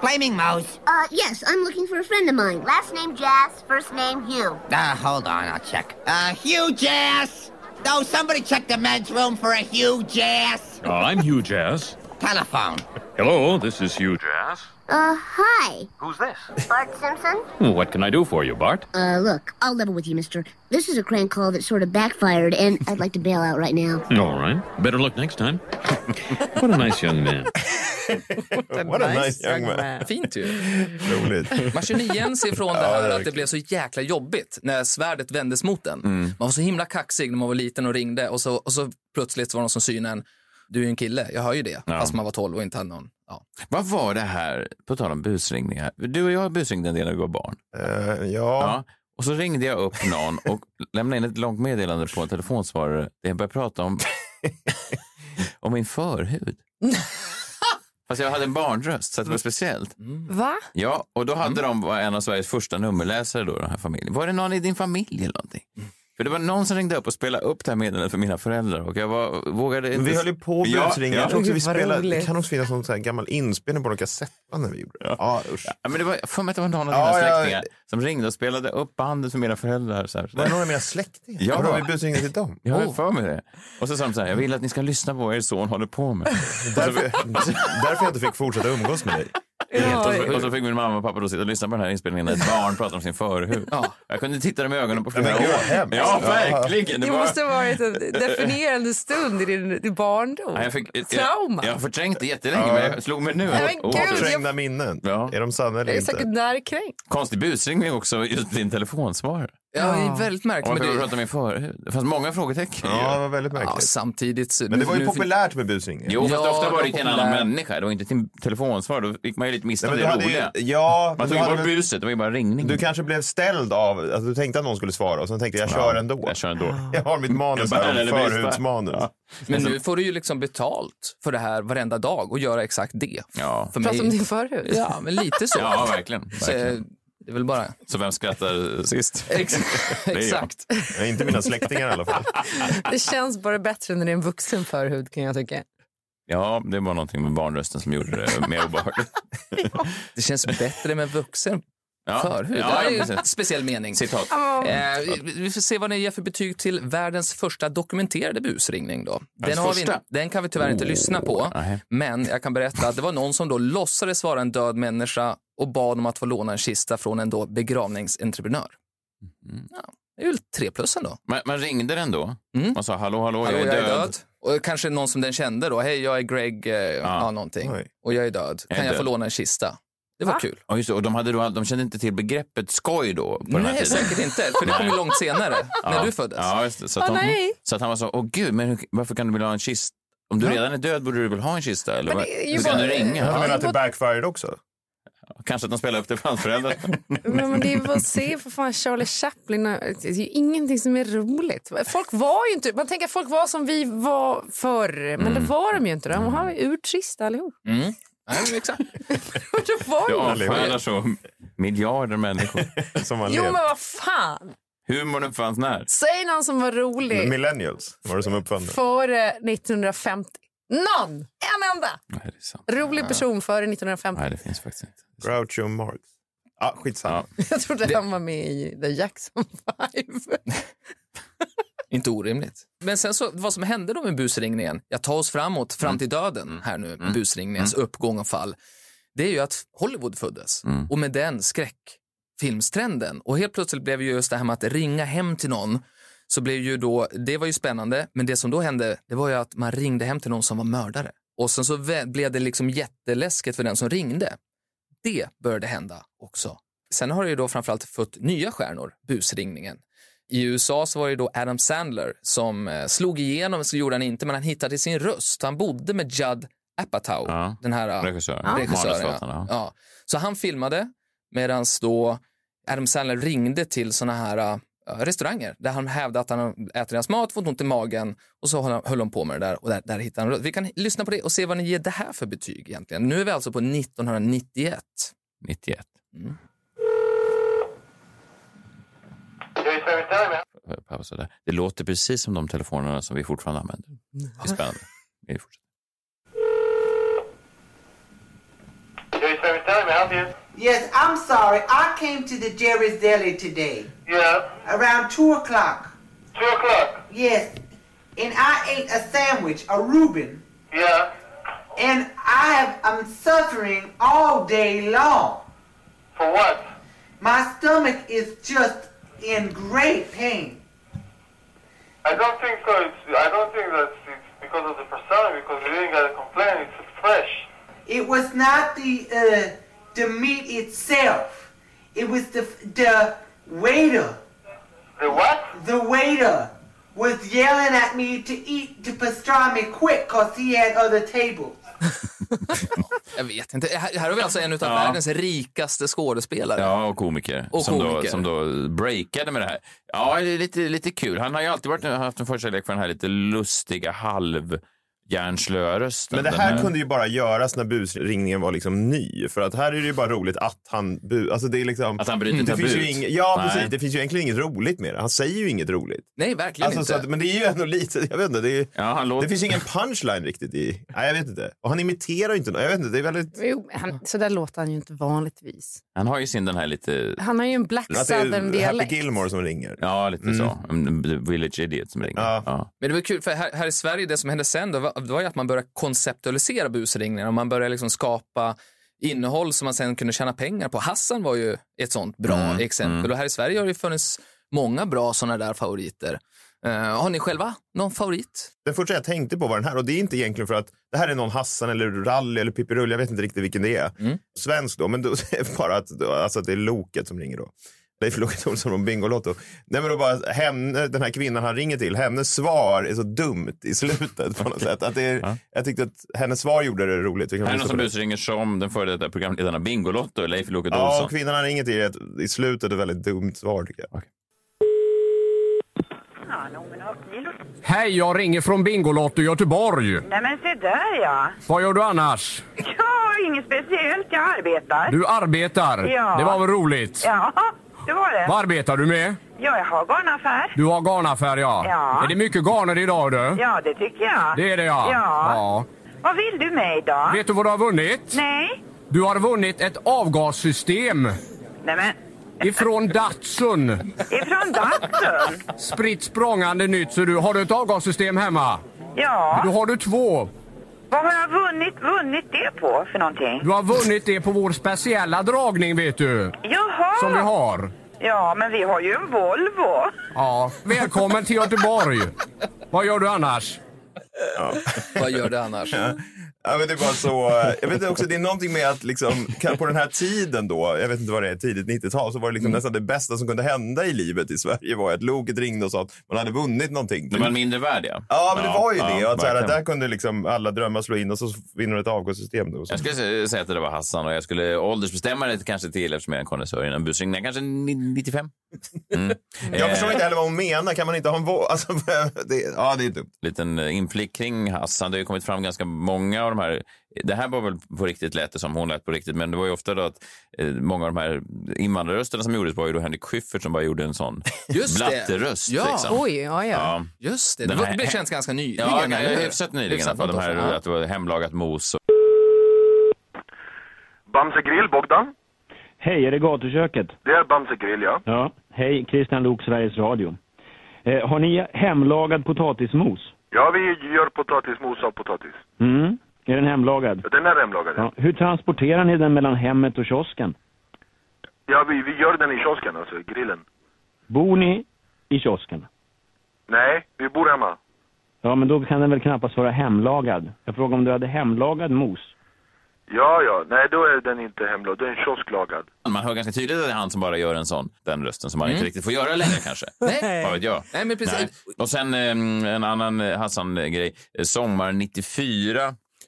[SPEAKER 6] Flaming Mouse.
[SPEAKER 7] Uh, yes, I'm looking for a friend of mine. Last name Jazz, first name Hugh.
[SPEAKER 6] Uh, hold on, I'll check. Uh, huge ass. No, somebody check the men's room for a huge ass.
[SPEAKER 8] Uh, I'm Huge Ass.
[SPEAKER 6] Telephone.
[SPEAKER 8] Hello, this is Huge Ass.
[SPEAKER 7] Uh, hi.
[SPEAKER 8] Who's this?
[SPEAKER 7] Bart Simpson?
[SPEAKER 8] What can I do for you, Bart?
[SPEAKER 7] Uh, look, I'll level with you, mister. This is a crank call that sort of backfired, and I'd like to bail out right now.
[SPEAKER 8] All right. Better luck next time. what a nice young man.
[SPEAKER 5] What a nice young man.
[SPEAKER 1] Fint ju.
[SPEAKER 5] <laughs> Roligt.
[SPEAKER 1] Man känner igen sig från det här att det
[SPEAKER 5] verkligen.
[SPEAKER 1] blev så jäkla jobbigt när svärdet vändes mot en. Man var så himla kaxig när man var liten och ringde och så, och så plötsligt så var någon som synade en. Du är ju en kille, jag hör ju det. Fast man var 12 och inte hade någon. Ja.
[SPEAKER 3] Vad var det här, på tal om busringningar. Du och jag busringde en del när vi var barn.
[SPEAKER 5] Eh,
[SPEAKER 3] Ja.
[SPEAKER 5] ja,
[SPEAKER 3] Och så ringde jag upp någon och lämnade in ett långt meddelande på en telefonsvarare där jag började prata
[SPEAKER 5] <laughs>
[SPEAKER 3] om, om min förhud. Fast jag hade en barnröst, så
[SPEAKER 5] Mm.
[SPEAKER 3] det var speciellt.
[SPEAKER 4] Va?
[SPEAKER 3] Ja, och då hade de var en av Sveriges första nummerläsare då, den här familjen. Var det någon i din familj eller någonting?
[SPEAKER 5] Mm.
[SPEAKER 3] För det var någon som ringde upp och spelade upp det här meddelandet för mina föräldrar och jag var, vågade inte...
[SPEAKER 5] Men vi höll ju på att
[SPEAKER 3] Ja,
[SPEAKER 5] busringa.
[SPEAKER 3] ja.
[SPEAKER 5] Jag tror också vi
[SPEAKER 4] Gud, vad
[SPEAKER 5] spelade,
[SPEAKER 4] roligt.
[SPEAKER 5] det kan också finnas någon sån här gammal inspelning på någon kassettband när vi gjorde det. Ja, usch.
[SPEAKER 3] Ja, men det var, jag för mig att det var någon av
[SPEAKER 5] Ja,
[SPEAKER 3] dina
[SPEAKER 5] ja.
[SPEAKER 3] släktingar som ringde och spelade upp bandet för mina föräldrar. Så här.
[SPEAKER 5] Var det någon av mina släktingar?
[SPEAKER 3] Ja.
[SPEAKER 5] Vadå, vi busringde till dem?
[SPEAKER 3] Jag har
[SPEAKER 5] Oh.
[SPEAKER 3] för mig det. Och så sa de så här, jag vill att ni ska lyssna på vad er son håller på med.
[SPEAKER 5] Därför, därför jag inte fick fortsätta umgås med dig.
[SPEAKER 3] och, så, och så fick min mamma och pappa då sitta och lyssna på den här inspelningen när ett barn pratar om sin förhud. Jag kunde titta dem i ögonen på flera
[SPEAKER 5] Men gud, vad
[SPEAKER 3] år.
[SPEAKER 5] hemskt.
[SPEAKER 3] Ja,
[SPEAKER 5] Ja.
[SPEAKER 3] verkligen.
[SPEAKER 4] Det
[SPEAKER 3] var-
[SPEAKER 4] måste ha varit en definierande stund i din, din barndom.
[SPEAKER 3] Nej, jag, fick, jag,
[SPEAKER 4] Trauma.
[SPEAKER 3] jag har förträngt det jättelänge, men jag slog mig nu.
[SPEAKER 4] Nej, men
[SPEAKER 3] Åh,
[SPEAKER 4] gud.
[SPEAKER 3] förträngt.
[SPEAKER 5] Trängda minnen.
[SPEAKER 3] Ja.
[SPEAKER 5] Är de sanna eller
[SPEAKER 4] jag är säkert
[SPEAKER 5] inte?
[SPEAKER 4] närkränkt.
[SPEAKER 3] Konstig busringning också, just din telefonsvarare.
[SPEAKER 1] Ja, det är väldigt
[SPEAKER 3] Om
[SPEAKER 1] märkligt.
[SPEAKER 3] jag
[SPEAKER 1] Men
[SPEAKER 3] prata
[SPEAKER 1] det,
[SPEAKER 3] om min förhud. Det fanns många frågetecken.
[SPEAKER 5] Ja, det
[SPEAKER 3] ju.
[SPEAKER 5] var väldigt
[SPEAKER 1] ja,
[SPEAKER 5] märkligt.
[SPEAKER 1] samtidigt så...
[SPEAKER 5] Men det
[SPEAKER 1] nu-
[SPEAKER 5] var ju
[SPEAKER 1] nu fin-
[SPEAKER 5] populärt med busringning.
[SPEAKER 3] Jo, fast
[SPEAKER 1] Ja,
[SPEAKER 3] ofta var det
[SPEAKER 1] de
[SPEAKER 3] till en annan
[SPEAKER 1] populär-
[SPEAKER 3] människa. Det var inte till telefonsvar. Då gick man ju lite miste
[SPEAKER 5] Nej,
[SPEAKER 3] om
[SPEAKER 5] men
[SPEAKER 3] det
[SPEAKER 5] du hade
[SPEAKER 3] roliga.
[SPEAKER 5] ju, ja, men
[SPEAKER 3] Man
[SPEAKER 5] du,
[SPEAKER 3] tog ju
[SPEAKER 5] hade
[SPEAKER 3] bort
[SPEAKER 5] väl,
[SPEAKER 3] buset, det var ju bara ringning.
[SPEAKER 5] du kanske blev ställd av, alltså, du tänkte att någon skulle svara och sen tänkte jag, jag kör ändå.
[SPEAKER 3] Jag kör ändå.
[SPEAKER 5] Jag har mitt
[SPEAKER 3] Jag
[SPEAKER 5] manus
[SPEAKER 3] bara,
[SPEAKER 5] här,
[SPEAKER 3] eller
[SPEAKER 5] om
[SPEAKER 3] brist, va?
[SPEAKER 5] förhudsmanus.
[SPEAKER 3] Ja.
[SPEAKER 1] Men
[SPEAKER 5] Alltså-
[SPEAKER 1] nu får du ju liksom betalt för det här varenda dag och göra exakt det.
[SPEAKER 3] Ja.
[SPEAKER 1] För
[SPEAKER 4] Prata om din förhud.
[SPEAKER 1] Ja, men lite
[SPEAKER 5] <laughs>
[SPEAKER 1] så.
[SPEAKER 3] Ja, verkligen.
[SPEAKER 1] så eh,
[SPEAKER 3] verkligen.
[SPEAKER 1] det är väl bara...
[SPEAKER 3] Så vem skrattar sist?
[SPEAKER 1] Ex-
[SPEAKER 3] jag.
[SPEAKER 1] Exakt.
[SPEAKER 5] Nej, Eh, Inte mina släktingar i alla fall.
[SPEAKER 4] Det känns bara bättre när det är en vuxen förhud kan jag tycka.
[SPEAKER 3] Ja, det var någonting med barnrösten som gjorde det mer obehagligt.
[SPEAKER 1] <laughs> Det känns bättre med vuxen
[SPEAKER 3] Ja.
[SPEAKER 1] förhud.
[SPEAKER 3] Ja,
[SPEAKER 1] det är ju
[SPEAKER 3] precis.
[SPEAKER 1] en speciell mening.
[SPEAKER 3] Citat.
[SPEAKER 1] Eh, vi- vi får se vad ni ger för betyg till världens första dokumenterade busringning. Då. Den,
[SPEAKER 3] Världens
[SPEAKER 1] har vi inte,
[SPEAKER 3] första?
[SPEAKER 1] den kan vi tyvärr inte
[SPEAKER 3] Oh,
[SPEAKER 1] lyssna på,
[SPEAKER 3] nej.
[SPEAKER 1] men jag kan berätta att det var någon som då låtsades vara en död människa och bad om att få låna en kista från en då begravningsentreprenör.
[SPEAKER 3] Mm-hmm.
[SPEAKER 1] Ja, det är väl tre plus ändå.
[SPEAKER 3] Man, man ringde den då.
[SPEAKER 1] Mm.
[SPEAKER 3] Man sa hallå, hallå,
[SPEAKER 1] Hallå,
[SPEAKER 3] jag, är död.
[SPEAKER 1] Och kanske någon som den kände då. Hej, jag är Greg, eh, ja. någonting.
[SPEAKER 5] Oj.
[SPEAKER 1] Och jag är död.
[SPEAKER 3] är
[SPEAKER 1] Kan jag få
[SPEAKER 3] död.
[SPEAKER 1] låna en kista? Det var kul.
[SPEAKER 3] Ja, just det. Och de, hade då, all- de kände inte till begreppet skoj då på den här
[SPEAKER 1] Nej,
[SPEAKER 3] tiden.
[SPEAKER 1] säkert inte. För det kom ju långt senare, när du föddes.
[SPEAKER 3] Ja, just det. Så, att
[SPEAKER 4] Åh,
[SPEAKER 3] de,
[SPEAKER 4] nej.
[SPEAKER 3] så att han var så, åh gud, men hur- varför kan du vilja ha en kista? Om du redan är död borde du väl ha en kista? Eller
[SPEAKER 4] Men
[SPEAKER 3] vad?
[SPEAKER 4] det är ju
[SPEAKER 3] så kan
[SPEAKER 4] bara-
[SPEAKER 3] du ringa.
[SPEAKER 5] Jag menar
[SPEAKER 3] Ja.
[SPEAKER 5] att det backfired också.
[SPEAKER 3] Kanske att de spelar upp det för hans föräldrar.
[SPEAKER 4] Men, men det är ju bara att se för fan Charlie Chaplin. Det är ju ingenting som är roligt. Folk var ju inte, man tänker att folk var som vi var förr, men det
[SPEAKER 3] Mm.
[SPEAKER 4] var de ju inte. De var ju urtrista allihop.
[SPEAKER 1] Nej, men
[SPEAKER 4] <laughs>
[SPEAKER 1] exakt.
[SPEAKER 4] Det var
[SPEAKER 3] Du
[SPEAKER 4] ju...
[SPEAKER 3] avfärdar så miljarder <laughs> människor.
[SPEAKER 5] Som man
[SPEAKER 4] Jo men
[SPEAKER 5] levt.
[SPEAKER 4] vad fan!
[SPEAKER 3] Humorn fanns när.
[SPEAKER 4] Säg någon som var rolig
[SPEAKER 5] Millennials var det som uppfann det.
[SPEAKER 4] före 1950. Någon! eh, En enda!
[SPEAKER 3] Nej, det är sant.
[SPEAKER 4] Rolig person före 1950.
[SPEAKER 3] Nej, det finns faktiskt inte.
[SPEAKER 5] Groucho Marx. Ah, skitsamma.
[SPEAKER 4] Jag trodde han var med i The Jackson 5.
[SPEAKER 1] Inte orimligt. Men sen så, vad som hände då med busringningen, jag tar oss framåt, fram till döden här nu, busringningens uppgång och fall, det är ju att Hollywood föddes
[SPEAKER 3] Mm.
[SPEAKER 1] och med den skräckfilmstrenden. Och helt plötsligt blev ju just det här med att ringa hem till någon, så blev ju då, det var ju spännande, men det som då hände, det var ju att man ringde hem till någon som var mördare. Och sen så vä- blev det liksom jätteläskigt för den som ringde. Det började hända också. Sen har det ju då framförallt fött nya stjärnor, busringningen. I USA så var det då Adam Sandler som eh, slog igenom, så gjorde han inte, men han hittade sin röst. Han bodde med Judd Apatow,
[SPEAKER 3] Ja.
[SPEAKER 1] den här eh,
[SPEAKER 3] Regissören.
[SPEAKER 1] regissören. Ja.
[SPEAKER 3] Manusförfattarna, ja.
[SPEAKER 1] Ja. Så han filmade medan då Adam Sandler ringde till såna här eh, restauranger där han hävdade att han äter deras mat, fått ont i magen och så höll han, höll de på med det där och där, där hittade han röst. Vi kan lyssna på det och se vad ni ger det här för betyg egentligen. Nu är vi alltså på 1991.
[SPEAKER 3] 91. Pausa där. Det låter precis som de telefonerna som vi fortfarande använder. Det är spännande. Vi fortsätter.
[SPEAKER 9] Yes, I'm sorry. I came to the Jerry's Deli today. Yeah. Around 2 o'clock. 2 o'clock? Yes. And I ate a sandwich, a Reuben. Yeah.
[SPEAKER 10] and I have, I'm suffering all day long.
[SPEAKER 11] For what?
[SPEAKER 10] My stomach is just in great pain.
[SPEAKER 11] I don't think so. It's, I don't think that's it's because of the persona, because you didn't get a complaint. It's fresh.
[SPEAKER 10] It was not the uh, the meat itself. It was the the waiter.
[SPEAKER 11] The what?
[SPEAKER 10] The waiter was yelling at me to eat the pastrami quick because he had other tables.
[SPEAKER 1] Jag vet inte. Här här har vi alltså en av
[SPEAKER 3] Ja.
[SPEAKER 1] världens rikaste skådespelare.
[SPEAKER 3] Ja, och komiker.
[SPEAKER 1] Och
[SPEAKER 3] som, Då,
[SPEAKER 1] komiker.
[SPEAKER 3] som då breakade med det här. Ja, det är lite, lite kul. Han har ju alltid varit, haft en förkärlek för den här lite lustiga halv rösten.
[SPEAKER 5] Men det
[SPEAKER 3] Den
[SPEAKER 5] här kunde ju bara göras när busringningen var liksom ny. För att här är det ju bara roligt att han... Bu- alltså det är liksom,
[SPEAKER 3] Att han bryter
[SPEAKER 5] det finns ju
[SPEAKER 3] tabut.
[SPEAKER 5] ing- Ja,
[SPEAKER 3] Nej.
[SPEAKER 5] precis. Det finns ju egentligen inget roligt med det. Han säger ju inget roligt.
[SPEAKER 1] Nej, verkligen
[SPEAKER 5] Alltså, så
[SPEAKER 1] inte.
[SPEAKER 5] att, men det är ju ändå lite... Jag vet inte. Det, är,
[SPEAKER 3] Ja, han låter...
[SPEAKER 5] det finns ju ingen punchline riktigt i... Nej, jag vet inte. Och han imiterar ju inte någon. Jag vet inte. Det är väldigt...
[SPEAKER 4] Jo, men han, så där låter han ju inte vanligtvis.
[SPEAKER 3] Han har ju sin den här lite...
[SPEAKER 4] Han har ju en black
[SPEAKER 5] Att det är Happy
[SPEAKER 4] southern-dialekt.
[SPEAKER 5] Gilmore som ringer.
[SPEAKER 3] Ja, lite så. Mm, the Village Idiot som ringer.
[SPEAKER 5] Ja.
[SPEAKER 3] Ja.
[SPEAKER 1] Men det var kul, för här, här i Sverige, det som hände sen då, var, det var ju att man började konceptualisera busringningar och man började liksom skapa innehåll som man sen kunde tjäna pengar på. Hassan var ju ett sånt bra exempel och här i Sverige har det ju funnits många bra såna där favoriter. Eh, har ni själva någon favorit?
[SPEAKER 5] Den första jag tänkte på var den här och det är inte egentligen för att det här är någon Hassan eller Rally eller Pippirull, jag vet inte riktigt vilken det är. Svensk då, men då, <laughs> det är bara att, då, alltså att det är Loket som ringer då. Leif Loket Olsson från Bingolotto. Nej men då bara, henne, den här kvinnan han ringer till, hennes svar är så dumt i slutet på något sätt. Att det är, Jag tyckte att hennes svar gjorde det roligt. Vi kan
[SPEAKER 3] Här är
[SPEAKER 5] lyssna
[SPEAKER 3] någon som
[SPEAKER 5] på det.
[SPEAKER 3] busringer som den före detta programledaren av Bingolotto, Leif Loket
[SPEAKER 5] Ja,
[SPEAKER 3] Olsson.
[SPEAKER 5] och kvinnan han ringer till är ett, i slutet ett väldigt dumt svar tycker jag.
[SPEAKER 2] Hej, jag ringer från Bingolotto i Göteborg.
[SPEAKER 12] Nej men se där ja.
[SPEAKER 2] Vad gör du annars?
[SPEAKER 12] Ja, inget speciellt. Jag arbetar.
[SPEAKER 2] Du arbetar.
[SPEAKER 12] Ja.
[SPEAKER 2] Det var väl roligt?
[SPEAKER 12] Ja, det var det.
[SPEAKER 2] Vad arbetar du med?
[SPEAKER 12] Ja, jag har garnaffär.
[SPEAKER 2] Du har garnaffär, ja.
[SPEAKER 12] Ja.
[SPEAKER 2] Är det mycket garner idag, du?
[SPEAKER 12] Ja, det tycker jag.
[SPEAKER 2] Det är det, ja.
[SPEAKER 12] Ja. Vad vill du med idag?
[SPEAKER 2] Vet du vad du har vunnit?
[SPEAKER 12] Nej.
[SPEAKER 2] Du har vunnit ett avgassystem
[SPEAKER 12] Nej men,
[SPEAKER 2] ifrån Datsun.
[SPEAKER 12] ifrån Datsun?
[SPEAKER 2] Spritt språngande nytt. Så du, har du ett avgassystem hemma?
[SPEAKER 12] Ja.
[SPEAKER 2] Då har du två.
[SPEAKER 12] Vad har jag vunnit, vunnit det på för någonting?
[SPEAKER 2] Du har vunnit det på vår speciella dragning, vet du.
[SPEAKER 12] Jaha.
[SPEAKER 2] Som vi har.
[SPEAKER 12] Ja, men vi har ju en Volvo.
[SPEAKER 2] Ja. Välkommen till Göteborg. Vad gör du annars?
[SPEAKER 1] Vad gör det annars?
[SPEAKER 5] Ja, men det var så, eh, jag vet inte också, det är någonting med att liksom, kan- på den här tiden då, jag vet inte vad det är, tidigt 90-tal, så var det
[SPEAKER 3] Mm.
[SPEAKER 5] liksom nästan det bästa som kunde hända i livet i Sverige var att loket ringde och sa att man hade vunnit någonting.
[SPEAKER 3] Det var en mindre värld, ja.
[SPEAKER 5] Ja, men det var ju det. Och att, så här,
[SPEAKER 3] verkligen.
[SPEAKER 5] att där kunde liksom alla drömmar slå in och så vinner ett avgångssystem. Då, så.
[SPEAKER 3] Jag skulle sä- säga att det var Hassan och jag skulle åldersbestämma det kanske till eftersom jag är en konnässör innan busringningen. Kanske ni- 95? Mm.
[SPEAKER 5] Jag förstår inte heller vad hon menar. Kan man inte ha en vå... Alltså, <laughs> det, ja, det är dumt.
[SPEAKER 3] liten eh, inblick kring Hassan. Det har ju kommit fram ganska många av de här. Det här var väl på riktigt lät det som hon lät på riktigt, men det var ju ofta då att eh, många av de här invandrarrösterna som gjordes var ju då Henrik Schyffert som bara gjorde en sån
[SPEAKER 1] Just det.
[SPEAKER 3] blatteröst.
[SPEAKER 1] Ja.
[SPEAKER 3] liksom.
[SPEAKER 4] Oj, ja, ja.
[SPEAKER 3] ja.
[SPEAKER 1] Just det, det,
[SPEAKER 3] Den
[SPEAKER 1] var,
[SPEAKER 3] här-
[SPEAKER 1] det känns ganska nyligen.
[SPEAKER 3] Ja,
[SPEAKER 1] eller hur?
[SPEAKER 3] hyfsat nyligen i alla fall. De här,
[SPEAKER 1] nyligen.
[SPEAKER 3] att det var hemlagat mos. Och...
[SPEAKER 11] Bamse Grill, Bogdan?
[SPEAKER 13] Hej, är det gatuköket?
[SPEAKER 11] Det är Bamse Grill, ja.
[SPEAKER 13] Ja. Hej, Christian Lok, Sveriges Radio. Eh, har ni hemlagad potatismos?
[SPEAKER 11] Ja, vi gör potatismos av potatis.
[SPEAKER 13] Mm. Är den hemlagad?
[SPEAKER 11] Den är hemlagad.
[SPEAKER 13] Ja. Hur transporterar ni den mellan hemmet och kiosken?
[SPEAKER 11] Ja, vi, vi gör den i kiosken, alltså i grillen.
[SPEAKER 13] Bor ni i kiosken?
[SPEAKER 11] Nej, vi bor hemma.
[SPEAKER 13] Ja, men då kan den väl knappast vara hemlagad. Jag frågar om du hade hemlagad mos.
[SPEAKER 11] Ja, ja. Nej, då är den inte hemlagad. Den är kiosklagad.
[SPEAKER 3] Man hör ganska tydligt att det är han som bara gör en sån, den rösten som man
[SPEAKER 1] Mm.
[SPEAKER 3] inte riktigt får göra längre kanske.
[SPEAKER 1] <laughs> Nej.
[SPEAKER 3] Vad vet jag?
[SPEAKER 1] Nej, men precis.
[SPEAKER 3] Nej. Och sen eh, en annan eh, Hassan-grej. Eh, Sommaren 94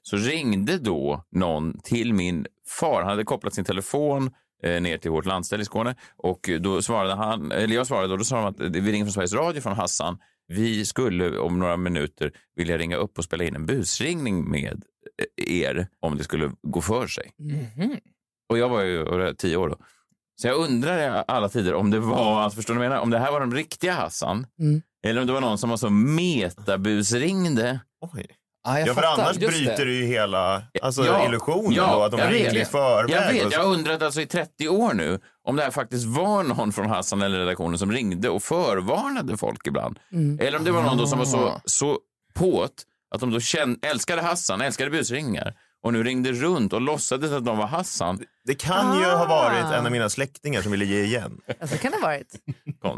[SPEAKER 3] så ringde då någon till min far. Han hade kopplat sin telefon eh, ner till vårt landställe i Skåne och eh, då svarade han, eller jag svarade och då sa de att eh, vi ringer från Sveriges Radio från Hassan. Vi skulle om några minuter vilja ringa upp och spela in en busringning med eh, er om det skulle gå för sig.
[SPEAKER 1] Mhm.
[SPEAKER 3] Och jag var ju vad var det, tio år då. Så jag undrar i alla tider om det var, alltså förstår ni vad jag menar? Om det här var den riktiga Hassan.
[SPEAKER 4] Mm.
[SPEAKER 3] Eller om det var någon som var så metabusringde.
[SPEAKER 5] Oj.
[SPEAKER 1] Ah, jag
[SPEAKER 5] Ja, för
[SPEAKER 1] fattar.
[SPEAKER 5] annars
[SPEAKER 1] Just det.
[SPEAKER 5] bryter du ju hela alltså,
[SPEAKER 3] Ja.
[SPEAKER 5] illusionen
[SPEAKER 3] Ja,
[SPEAKER 5] då, att de
[SPEAKER 3] jag
[SPEAKER 5] ringer
[SPEAKER 3] vet.
[SPEAKER 5] i förväg.
[SPEAKER 3] Jag
[SPEAKER 5] och
[SPEAKER 3] vet,
[SPEAKER 5] så-
[SPEAKER 3] jag har undrat alltså i 30 år nu om det här faktiskt var någon från Hassan eller redaktionen som
[SPEAKER 4] Mm. Ah.
[SPEAKER 3] ringde och förvarnade folk ibland. Eller om det var någon då som var så, så på't Att de då känn, älskade Hassan, älskade busringningar och nu ringde runt och låtsades att de var Hassan.
[SPEAKER 5] Det kan ju ha varit
[SPEAKER 1] Ah.
[SPEAKER 5] en av mina släktingar som ville ge igen.
[SPEAKER 4] Alltså, kan det ha varit.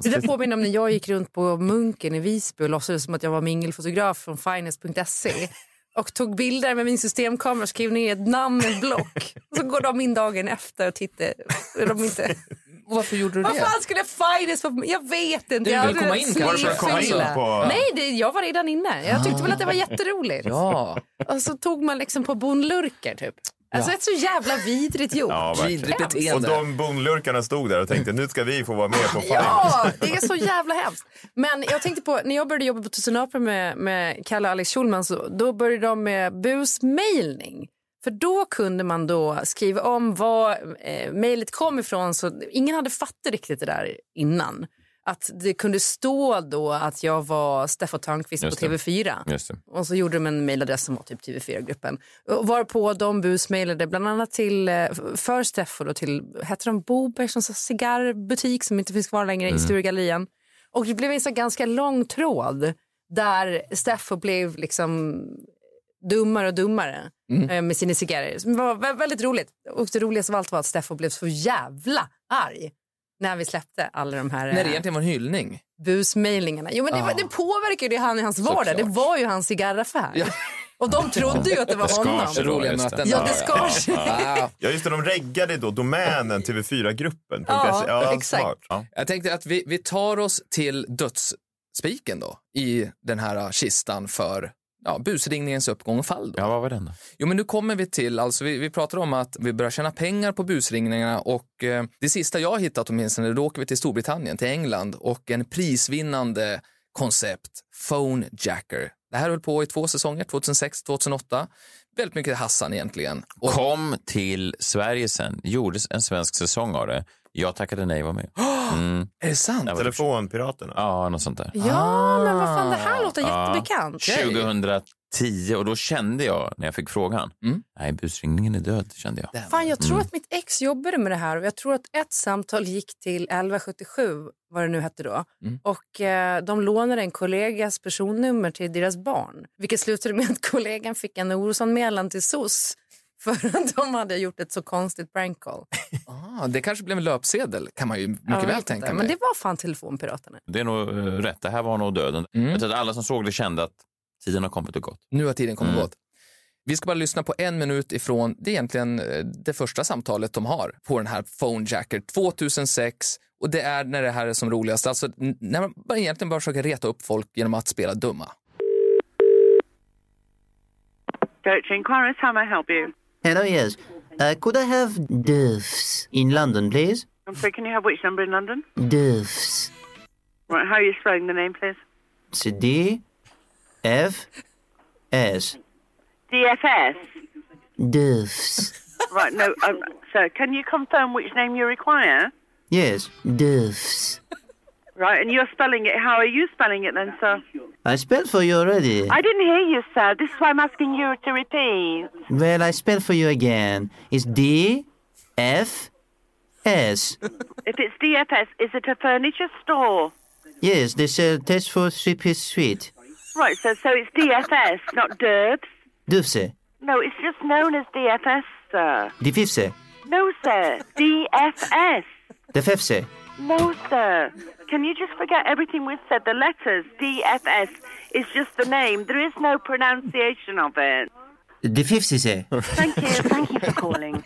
[SPEAKER 4] Det där påminner om när jag gick runt på Munken i Visby och låtsades som att jag var mingelfotograf från finest.se och tog bilder med min systemkamera och skrev ner ett namn i ett block. Och så går de in dagen efter och tittar. Är De inte...
[SPEAKER 1] Varför gjorde du
[SPEAKER 4] Vad
[SPEAKER 1] det?
[SPEAKER 4] fan skulle Finest vara Jag vet inte.
[SPEAKER 1] Du
[SPEAKER 4] jag
[SPEAKER 1] vill
[SPEAKER 4] hade
[SPEAKER 1] komma in kanske?
[SPEAKER 4] slagit
[SPEAKER 1] Var det för att komma in
[SPEAKER 4] fylla.
[SPEAKER 1] på-
[SPEAKER 4] Nej, det, jag var redan inne. Jag tyckte väl att det var jätteroligt.
[SPEAKER 1] Ah. Ja.
[SPEAKER 4] Och så tog man liksom på bonlurker typ. Alltså ett så jävla vidrigt gjort. Hemskt.
[SPEAKER 5] och de bonlurkarna stod där och tänkte nu ska vi få vara med på
[SPEAKER 4] <laughs> Ja, det är så jävla hemskt. Men jag tänkte på, när jag började jobba på Tusen apor med, med Kalle och Alex Schulman, så, då började de med busmailning. För då kunde man då skriva om var eh, mejlet kom ifrån, så ingen hade fattat riktigt det där innan. Att det kunde stå då att jag var Steffo Törnqvist på
[SPEAKER 3] Just det.
[SPEAKER 4] TV4.
[SPEAKER 3] Just det.
[SPEAKER 4] Och så gjorde de en mejladress som var typ TV4-gruppen. Och Varpå de busmejlade bland annat till, eh, för Steffo då till, hette de Bobergs, som sa cigarrbutik som inte finns kvar längre
[SPEAKER 11] Mm.
[SPEAKER 4] i Sturegallerian. Och det blev en så ganska lång tråd där Steffo blev liksom dummare och dummare
[SPEAKER 11] Mm.
[SPEAKER 4] eh, med sina cigarrer. Det var vä- väldigt roligt. Och det roligaste av allt var att Steffo blev så jävla arg när vi släppte alla de här...
[SPEAKER 1] När det
[SPEAKER 4] eh,
[SPEAKER 1] egentligen var en hyllning.
[SPEAKER 4] busmejlingarna. Jo, men det, var-
[SPEAKER 1] Ja.
[SPEAKER 4] det påverkar ju det han i hans vardag.
[SPEAKER 1] Såklart.
[SPEAKER 4] Det var ju hans cigarraffär. Och de trodde ju att det var honom. Ja, det skar sig.
[SPEAKER 5] Ja, just det, de reggade då domänen TV4-gruppen.
[SPEAKER 4] Ja, exakt.
[SPEAKER 1] Jag tänkte att vi, vi tar oss till dödsspiken då i den här äh, kistan för ja, busringningens uppgång och fall. Då.
[SPEAKER 3] Ja, vad var den då?
[SPEAKER 1] Jo, men nu kommer vi till, alltså vi, vi pratar om att vi börjar tjäna pengar på busringningarna och eh, det sista jag har hittat åtminstone, då åker vi till Storbritannien, till England och en prisvinnande koncept, Phone Jacker. Det här höll på i två säsonger, 2006-2008. Väldigt mycket Hassan egentligen. Och
[SPEAKER 3] Kom till Sverige sen, gjordes en svensk säsong av det. Jag tackade nej var med. Mm.
[SPEAKER 1] Är det sant?
[SPEAKER 5] Telefonpiraterna?
[SPEAKER 3] Ja, något sånt där.
[SPEAKER 4] <laughs> Ja, men vad fan, det här låter
[SPEAKER 1] Ah.
[SPEAKER 3] Ja.
[SPEAKER 4] jättebekant.
[SPEAKER 3] 2010 och då kände jag när jag fick frågan, nej busringningen är död, kände jag.
[SPEAKER 4] Fan, jag tror
[SPEAKER 3] Mm.
[SPEAKER 4] att mitt ex jobbade med det här och jag tror att ett samtal gick till 1177, vad det nu hette då.
[SPEAKER 3] Mm.
[SPEAKER 4] Och eh, de lånade en kollegas personnummer till deras barn. Vilket slutade med att <laughs> kollegan fick en orosanmälan till SOS för att de hade gjort ett så konstigt prank call.
[SPEAKER 1] Ah, det kanske blev en löpsedel, kan man ju mycket
[SPEAKER 4] Jag vet
[SPEAKER 1] väl
[SPEAKER 4] inte,
[SPEAKER 1] tänka
[SPEAKER 4] Men
[SPEAKER 1] mig.
[SPEAKER 4] det var fan telefonpiraterna.
[SPEAKER 3] Det är nog eh, rätt, det här var nog döden. Jag tror att alla som såg det kände att tiden har kommit och gått.
[SPEAKER 1] Nu har tiden
[SPEAKER 3] Mm.
[SPEAKER 1] kommit gått. Vi ska bara lyssna på en minut ifrån det är egentligen eh, det första samtalet de har på den här Phone Jacker 2006 och det är när det här är som roligast, alltså n- när man bara egentligen bara försöker reta upp folk genom att spela dumma.
[SPEAKER 12] Deutsche Inquiries, how may I help you?
[SPEAKER 14] Hello, yes. Uh, could I have Doves in London, please?
[SPEAKER 12] I'm sorry, can you have which number in London?
[SPEAKER 14] Doves.
[SPEAKER 12] Right, how are you spelling the name, please?
[SPEAKER 14] So D, F, S.
[SPEAKER 12] DFS.
[SPEAKER 14] Doves.
[SPEAKER 12] right, no, um, sir, can you confirm which name you require?
[SPEAKER 14] Yes, Doves.
[SPEAKER 12] Right, and you're spelling it. How are you spelling it then, sir?
[SPEAKER 14] I spelled for you already.
[SPEAKER 12] I didn't hear you, sir. This is why I'm asking you to repeat.
[SPEAKER 14] Well, I spelled for you again. It's D, F, S.
[SPEAKER 12] If it's DFS, is it a furniture store?
[SPEAKER 14] Yes, they sell test for three-piece suite.
[SPEAKER 12] Right, sir, so it's DFS, not Derbs.
[SPEAKER 14] Doves.
[SPEAKER 12] No, it's just known as DFS, sir.
[SPEAKER 14] Defifse.
[SPEAKER 12] No, sir. DFS.
[SPEAKER 14] Defefse.
[SPEAKER 12] No, sir. Can you just forget everything we've said? The letters DFS is just the name. There is no pronunciation of it.
[SPEAKER 14] Defifse.
[SPEAKER 12] Thank you. Thank you for calling.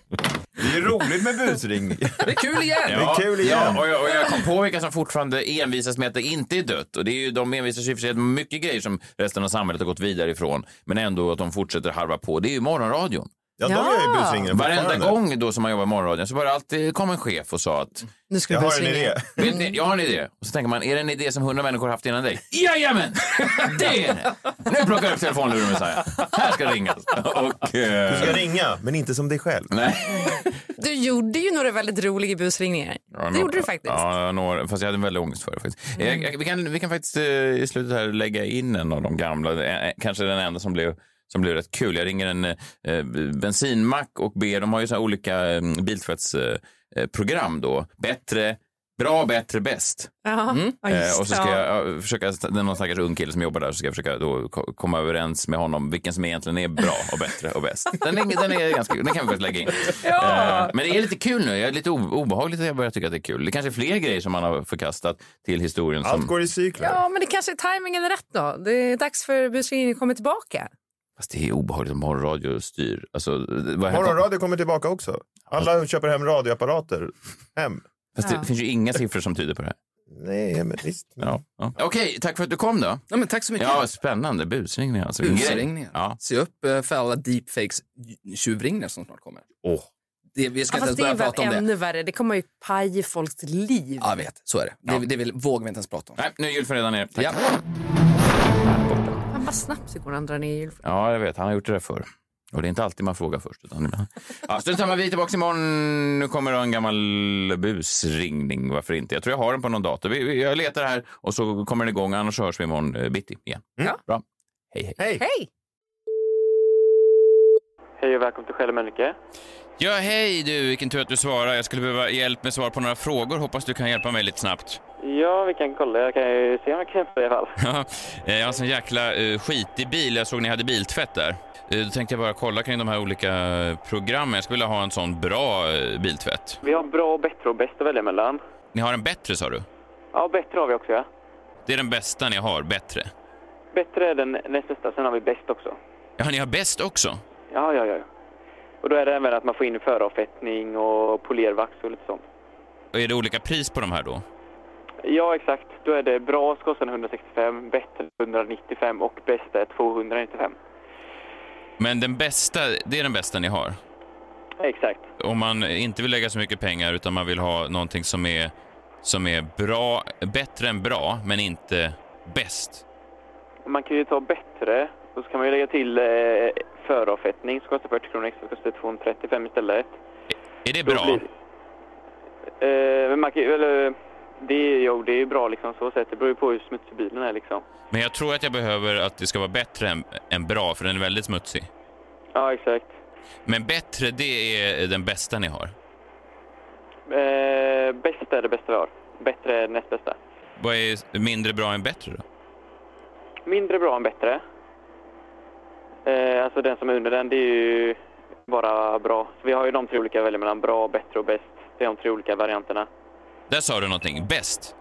[SPEAKER 5] Det är roligt
[SPEAKER 4] <laughs>
[SPEAKER 5] med busringning.
[SPEAKER 1] Det är kul igen!
[SPEAKER 5] Det är kul igen.
[SPEAKER 3] Ja, och, jag, och jag kom på vilka som fortfarande envisas med att det inte är dött. Och det är ju, de envisas ju i och för sig med mycket grejer som resten av samhället har gått vidare ifrån. Men ändå att de fortsätter harva på. Det är ju morgonradion.
[SPEAKER 5] Ja, de gör ju busringningar
[SPEAKER 3] Varenda
[SPEAKER 5] fortfarande.
[SPEAKER 3] gång då som man jobbar i morgonradion så var det alltid kom en chef och sa att...
[SPEAKER 4] Nu
[SPEAKER 5] ska du Jag har en busringa. idé.
[SPEAKER 3] Vet ni, jag har en idé. Och så tänker man, är det en idé som hundra människor haft innan dig? Jajamän! Det är det! Nu plockar jag upp telefonluren och säger, här ska det ringas. <laughs> Och, eh,
[SPEAKER 5] Du ska ringa, men inte som dig själv.
[SPEAKER 3] Nej.
[SPEAKER 4] Du gjorde ju några väldigt roliga busringningar.
[SPEAKER 3] Ja,
[SPEAKER 4] det
[SPEAKER 3] nå-
[SPEAKER 4] gjorde du faktiskt. Mm.
[SPEAKER 3] Ja, några, fast jag hade väldigt ångest för det. Faktiskt. Eh, Jag, jag, vi, kan, vi kan faktiskt eh, i slutet här lägga in en av de gamla, eh, eh, kanske den enda som blev som blev rätt kul. Jag ringer en eh, eh, bensinmack och ber, de har ju så här olika eh, biltvättsprogram eh, program då. eh, Bättre, Bra, bättre, bäst.
[SPEAKER 4] Ja,
[SPEAKER 1] Mm.
[SPEAKER 4] ja,
[SPEAKER 3] Eh,
[SPEAKER 4] just
[SPEAKER 3] och så
[SPEAKER 4] det.
[SPEAKER 3] ska
[SPEAKER 4] Ja.
[SPEAKER 3] jag ja, försöka, det är någon stackars ung kille som jobbar där, så ska jag försöka då ko- komma överens med honom vilken som egentligen är bra och bättre och bäst. Den, är, den, är ganska, den kan vi faktiskt lägga in.
[SPEAKER 4] Ja.
[SPEAKER 3] Eh, men det är lite kul nu, jag är lite o- obehagligt att jag börjar tycka att det är kul. Det kanske är fler grejer som man har förkastat till historien. Allt som...
[SPEAKER 5] går i cykler.
[SPEAKER 4] Ja, men det kanske är tajmingen är rätt då. Det är dags för busringningen kommer tillbaka.
[SPEAKER 3] Fast det är obehagligt om morgonradio styr. Alltså, det- vad händer-
[SPEAKER 5] Morgonradio kommer tillbaka också. Alla köper hem radioapparater hem.
[SPEAKER 3] Fast det finns ju inga siffror som tyder på det här.
[SPEAKER 5] Nej, men visst.
[SPEAKER 3] Ja. Ja. Okej, tack för att du kom då.
[SPEAKER 1] Ja, men tack så mycket.
[SPEAKER 3] Ja, spännande. Busringningar alltså. Vilken grej.
[SPEAKER 1] Busringningar.
[SPEAKER 3] Ja.
[SPEAKER 1] Se upp eh, för alla deepfakes-tjuvringningar som snart kommer.
[SPEAKER 3] Åh.
[SPEAKER 1] Det, vi ska
[SPEAKER 4] Ja,
[SPEAKER 1] inte ens
[SPEAKER 4] fast det
[SPEAKER 1] börja
[SPEAKER 4] är väl
[SPEAKER 1] prata om det.
[SPEAKER 4] ännu värre. Det kommer ju paja folks liv.
[SPEAKER 1] Ja, jag vet. Så är det. Det, det vill, vågar vi inte ens prata om.
[SPEAKER 3] Nej, nu är Gylfen redan ner. Tack.
[SPEAKER 1] Ja.
[SPEAKER 4] Fan vad snabbt det går när han drar ner julfrun.
[SPEAKER 3] Ja, jag vet. Han har gjort det där förr. Och det är inte alltid man frågar först. Utan ibland. <laughs> ja, strunt samma, vi är tillbaka imorgon. Nu kommer en gammal busringning. Varför inte? Jag tror jag har den på någon dator. Vi- vi- Jag letar här och så kommer den igång. Annars hörs vi imorgon eh, bitti igen. Bra. Hej, hej.
[SPEAKER 5] Hej!
[SPEAKER 4] Hej!
[SPEAKER 11] Hej och välkommen till Själ och Mölnlycke.
[SPEAKER 3] Ja, hej du. Vilken tur att du svarar. Jag skulle behöva hjälp med svar på några frågor. Hoppas du kan hjälpa mig lite snabbt. <laughs>
[SPEAKER 11] Ja, vi kan kolla. Jag kan ju se om jag kan hjälpa i alla fall.
[SPEAKER 3] Ja, eh, jag har en sån jäkla eh, skitig bil. Jag såg ni hade biltvätt där. Eh, Då tänkte jag bara kolla kring de här olika eh, programmen. Jag skulle vilja ha en sån bra eh, biltvätt.
[SPEAKER 11] Vi har bra, bättre och bäst att välja mellan.
[SPEAKER 3] Ni har en bättre sa du?
[SPEAKER 11] Ja, bättre har vi också, ja.
[SPEAKER 3] Det är den bästa ni har, bättre.
[SPEAKER 11] Bättre är den näst bästa, sen har vi bäst också.
[SPEAKER 3] Ja, ni har bäst också?
[SPEAKER 11] Ja, ja, ja. Och då är det även att man får in föravfettning och polervax och lite sånt.
[SPEAKER 3] Och Är det olika pris på de här då?
[SPEAKER 11] Ja, exakt. Då är det bra så kostar den 165, bättre 195 och bäst är 295.
[SPEAKER 3] Men den bästa, det är den bästa ni har?
[SPEAKER 11] Exakt.
[SPEAKER 3] Om man inte vill lägga så mycket pengar utan man vill ha någonting som är, som är bra, bättre än bra, men inte bäst.
[SPEAKER 11] Man kan ju ta bättre och så kan man ju lägga till eh, föravfettning som kostar 40 kronor extra, det kostar 235 istället.
[SPEAKER 3] Är det
[SPEAKER 11] Då
[SPEAKER 3] bra?
[SPEAKER 11] blir- Eh, men man kan, ju- eller, det, är- jo, det är ju bra liksom så sett. Det beror ju på hur smutsig bilen är liksom.
[SPEAKER 3] Men jag tror att jag behöver att det ska vara bättre än, än bra, för den är väldigt smutsig.
[SPEAKER 11] Ja, exakt.
[SPEAKER 3] Men bättre, det är den bästa ni har.
[SPEAKER 11] Eh, bästa är det bästa vi har. Bättre är det näst bästa.
[SPEAKER 3] Vad är mindre bra än bättre då?
[SPEAKER 11] Mindre bra än bättre. Eh, alltså den som är under den, det är ju bara bra. Så vi har ju de tre olika att välja mellan. Bra, bättre och bäst. Det är de tre olika varianterna.
[SPEAKER 3] Där sa du någonting. Bäst.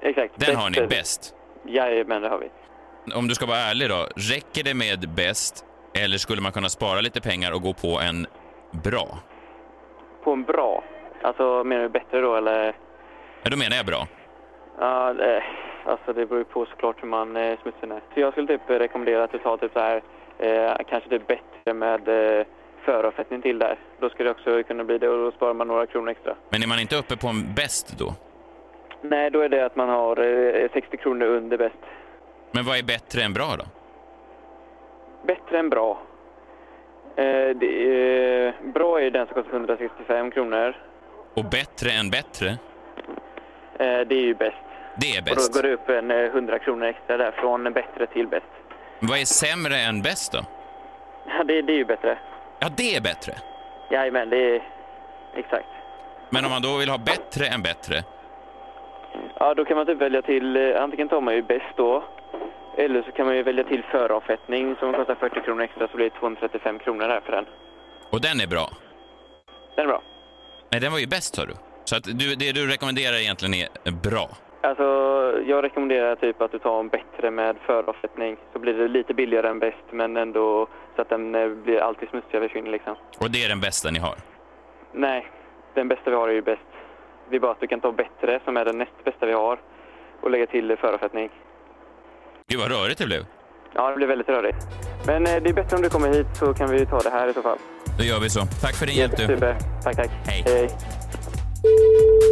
[SPEAKER 11] Exakt.
[SPEAKER 3] Den har ni.
[SPEAKER 11] är-
[SPEAKER 3] Bäst.
[SPEAKER 11] Jajamän, det har vi.
[SPEAKER 3] Om du ska vara ärlig då, räcker det med bäst eller skulle man kunna spara lite pengar och gå på en bra?
[SPEAKER 11] På en bra. Alltså menar du bättre då eller?
[SPEAKER 3] Ja, då menar jag bra.
[SPEAKER 11] Ja, eh, alltså det beror ju på såklart hur man eh, smutsar ner. Så jag skulle typ rekommendera att du tar typ så här, eh, kanske typ bättre med eh, föravfettning till där. Då skulle det också kunna bli det och då sparar man några kronor extra.
[SPEAKER 3] Men är man inte uppe på en bäst då?
[SPEAKER 11] Nej, då är det att man har eh, 60 kronor under bäst.
[SPEAKER 3] Men vad är bättre än bra då?
[SPEAKER 11] Bättre än bra. Eh, det, eh, bra är ju den som kostar 165 kronor.
[SPEAKER 3] Och bättre än bättre?
[SPEAKER 11] Eh, det är ju bäst.
[SPEAKER 3] Det är
[SPEAKER 11] Och
[SPEAKER 3] bäst.
[SPEAKER 11] då går det upp en eh, 100 kronor extra där från bättre till bäst. <laughs>
[SPEAKER 3] Vad är sämre än bäst då?
[SPEAKER 11] Ja, det, det är ju bättre.
[SPEAKER 3] Ja, det är bättre.
[SPEAKER 11] Jajamän, det är exakt.
[SPEAKER 3] Men om man då vill ha bättre än bättre,
[SPEAKER 11] Ja, då kan man typ välja till, eh, antingen tar man ju bäst då, eller så kan man ju välja till föravfettning som kostar 40 kronor extra så blir det 235 kronor där för den.
[SPEAKER 3] och den är bra.
[SPEAKER 11] Den är bra.
[SPEAKER 3] Nej, den var ju bäst sa du. Så att du, det du rekommenderar egentligen är bra.
[SPEAKER 11] Alltså, jag rekommenderar typ att du tar en bättre med föravfettning så blir det lite billigare än bäst men ändå så att den eh, blir alltid smutsigare försvinner liksom.
[SPEAKER 3] Och det är den bästa ni har.
[SPEAKER 11] Nej, den bästa vi har är ju bäst. Det är bara att du kan ta bättre som är den näst bästa vi har och lägga till eh, föravfettning.
[SPEAKER 3] Gud vad rörigt det blev.
[SPEAKER 11] Ja, det blir väldigt rörigt. Men eh, det är bättre om du kommer hit så kan vi ju ta det här i så fall.
[SPEAKER 3] Då gör vi så. Tack för din hjälp du.
[SPEAKER 11] Super. Tack, tack.
[SPEAKER 3] Hej.
[SPEAKER 11] Hej.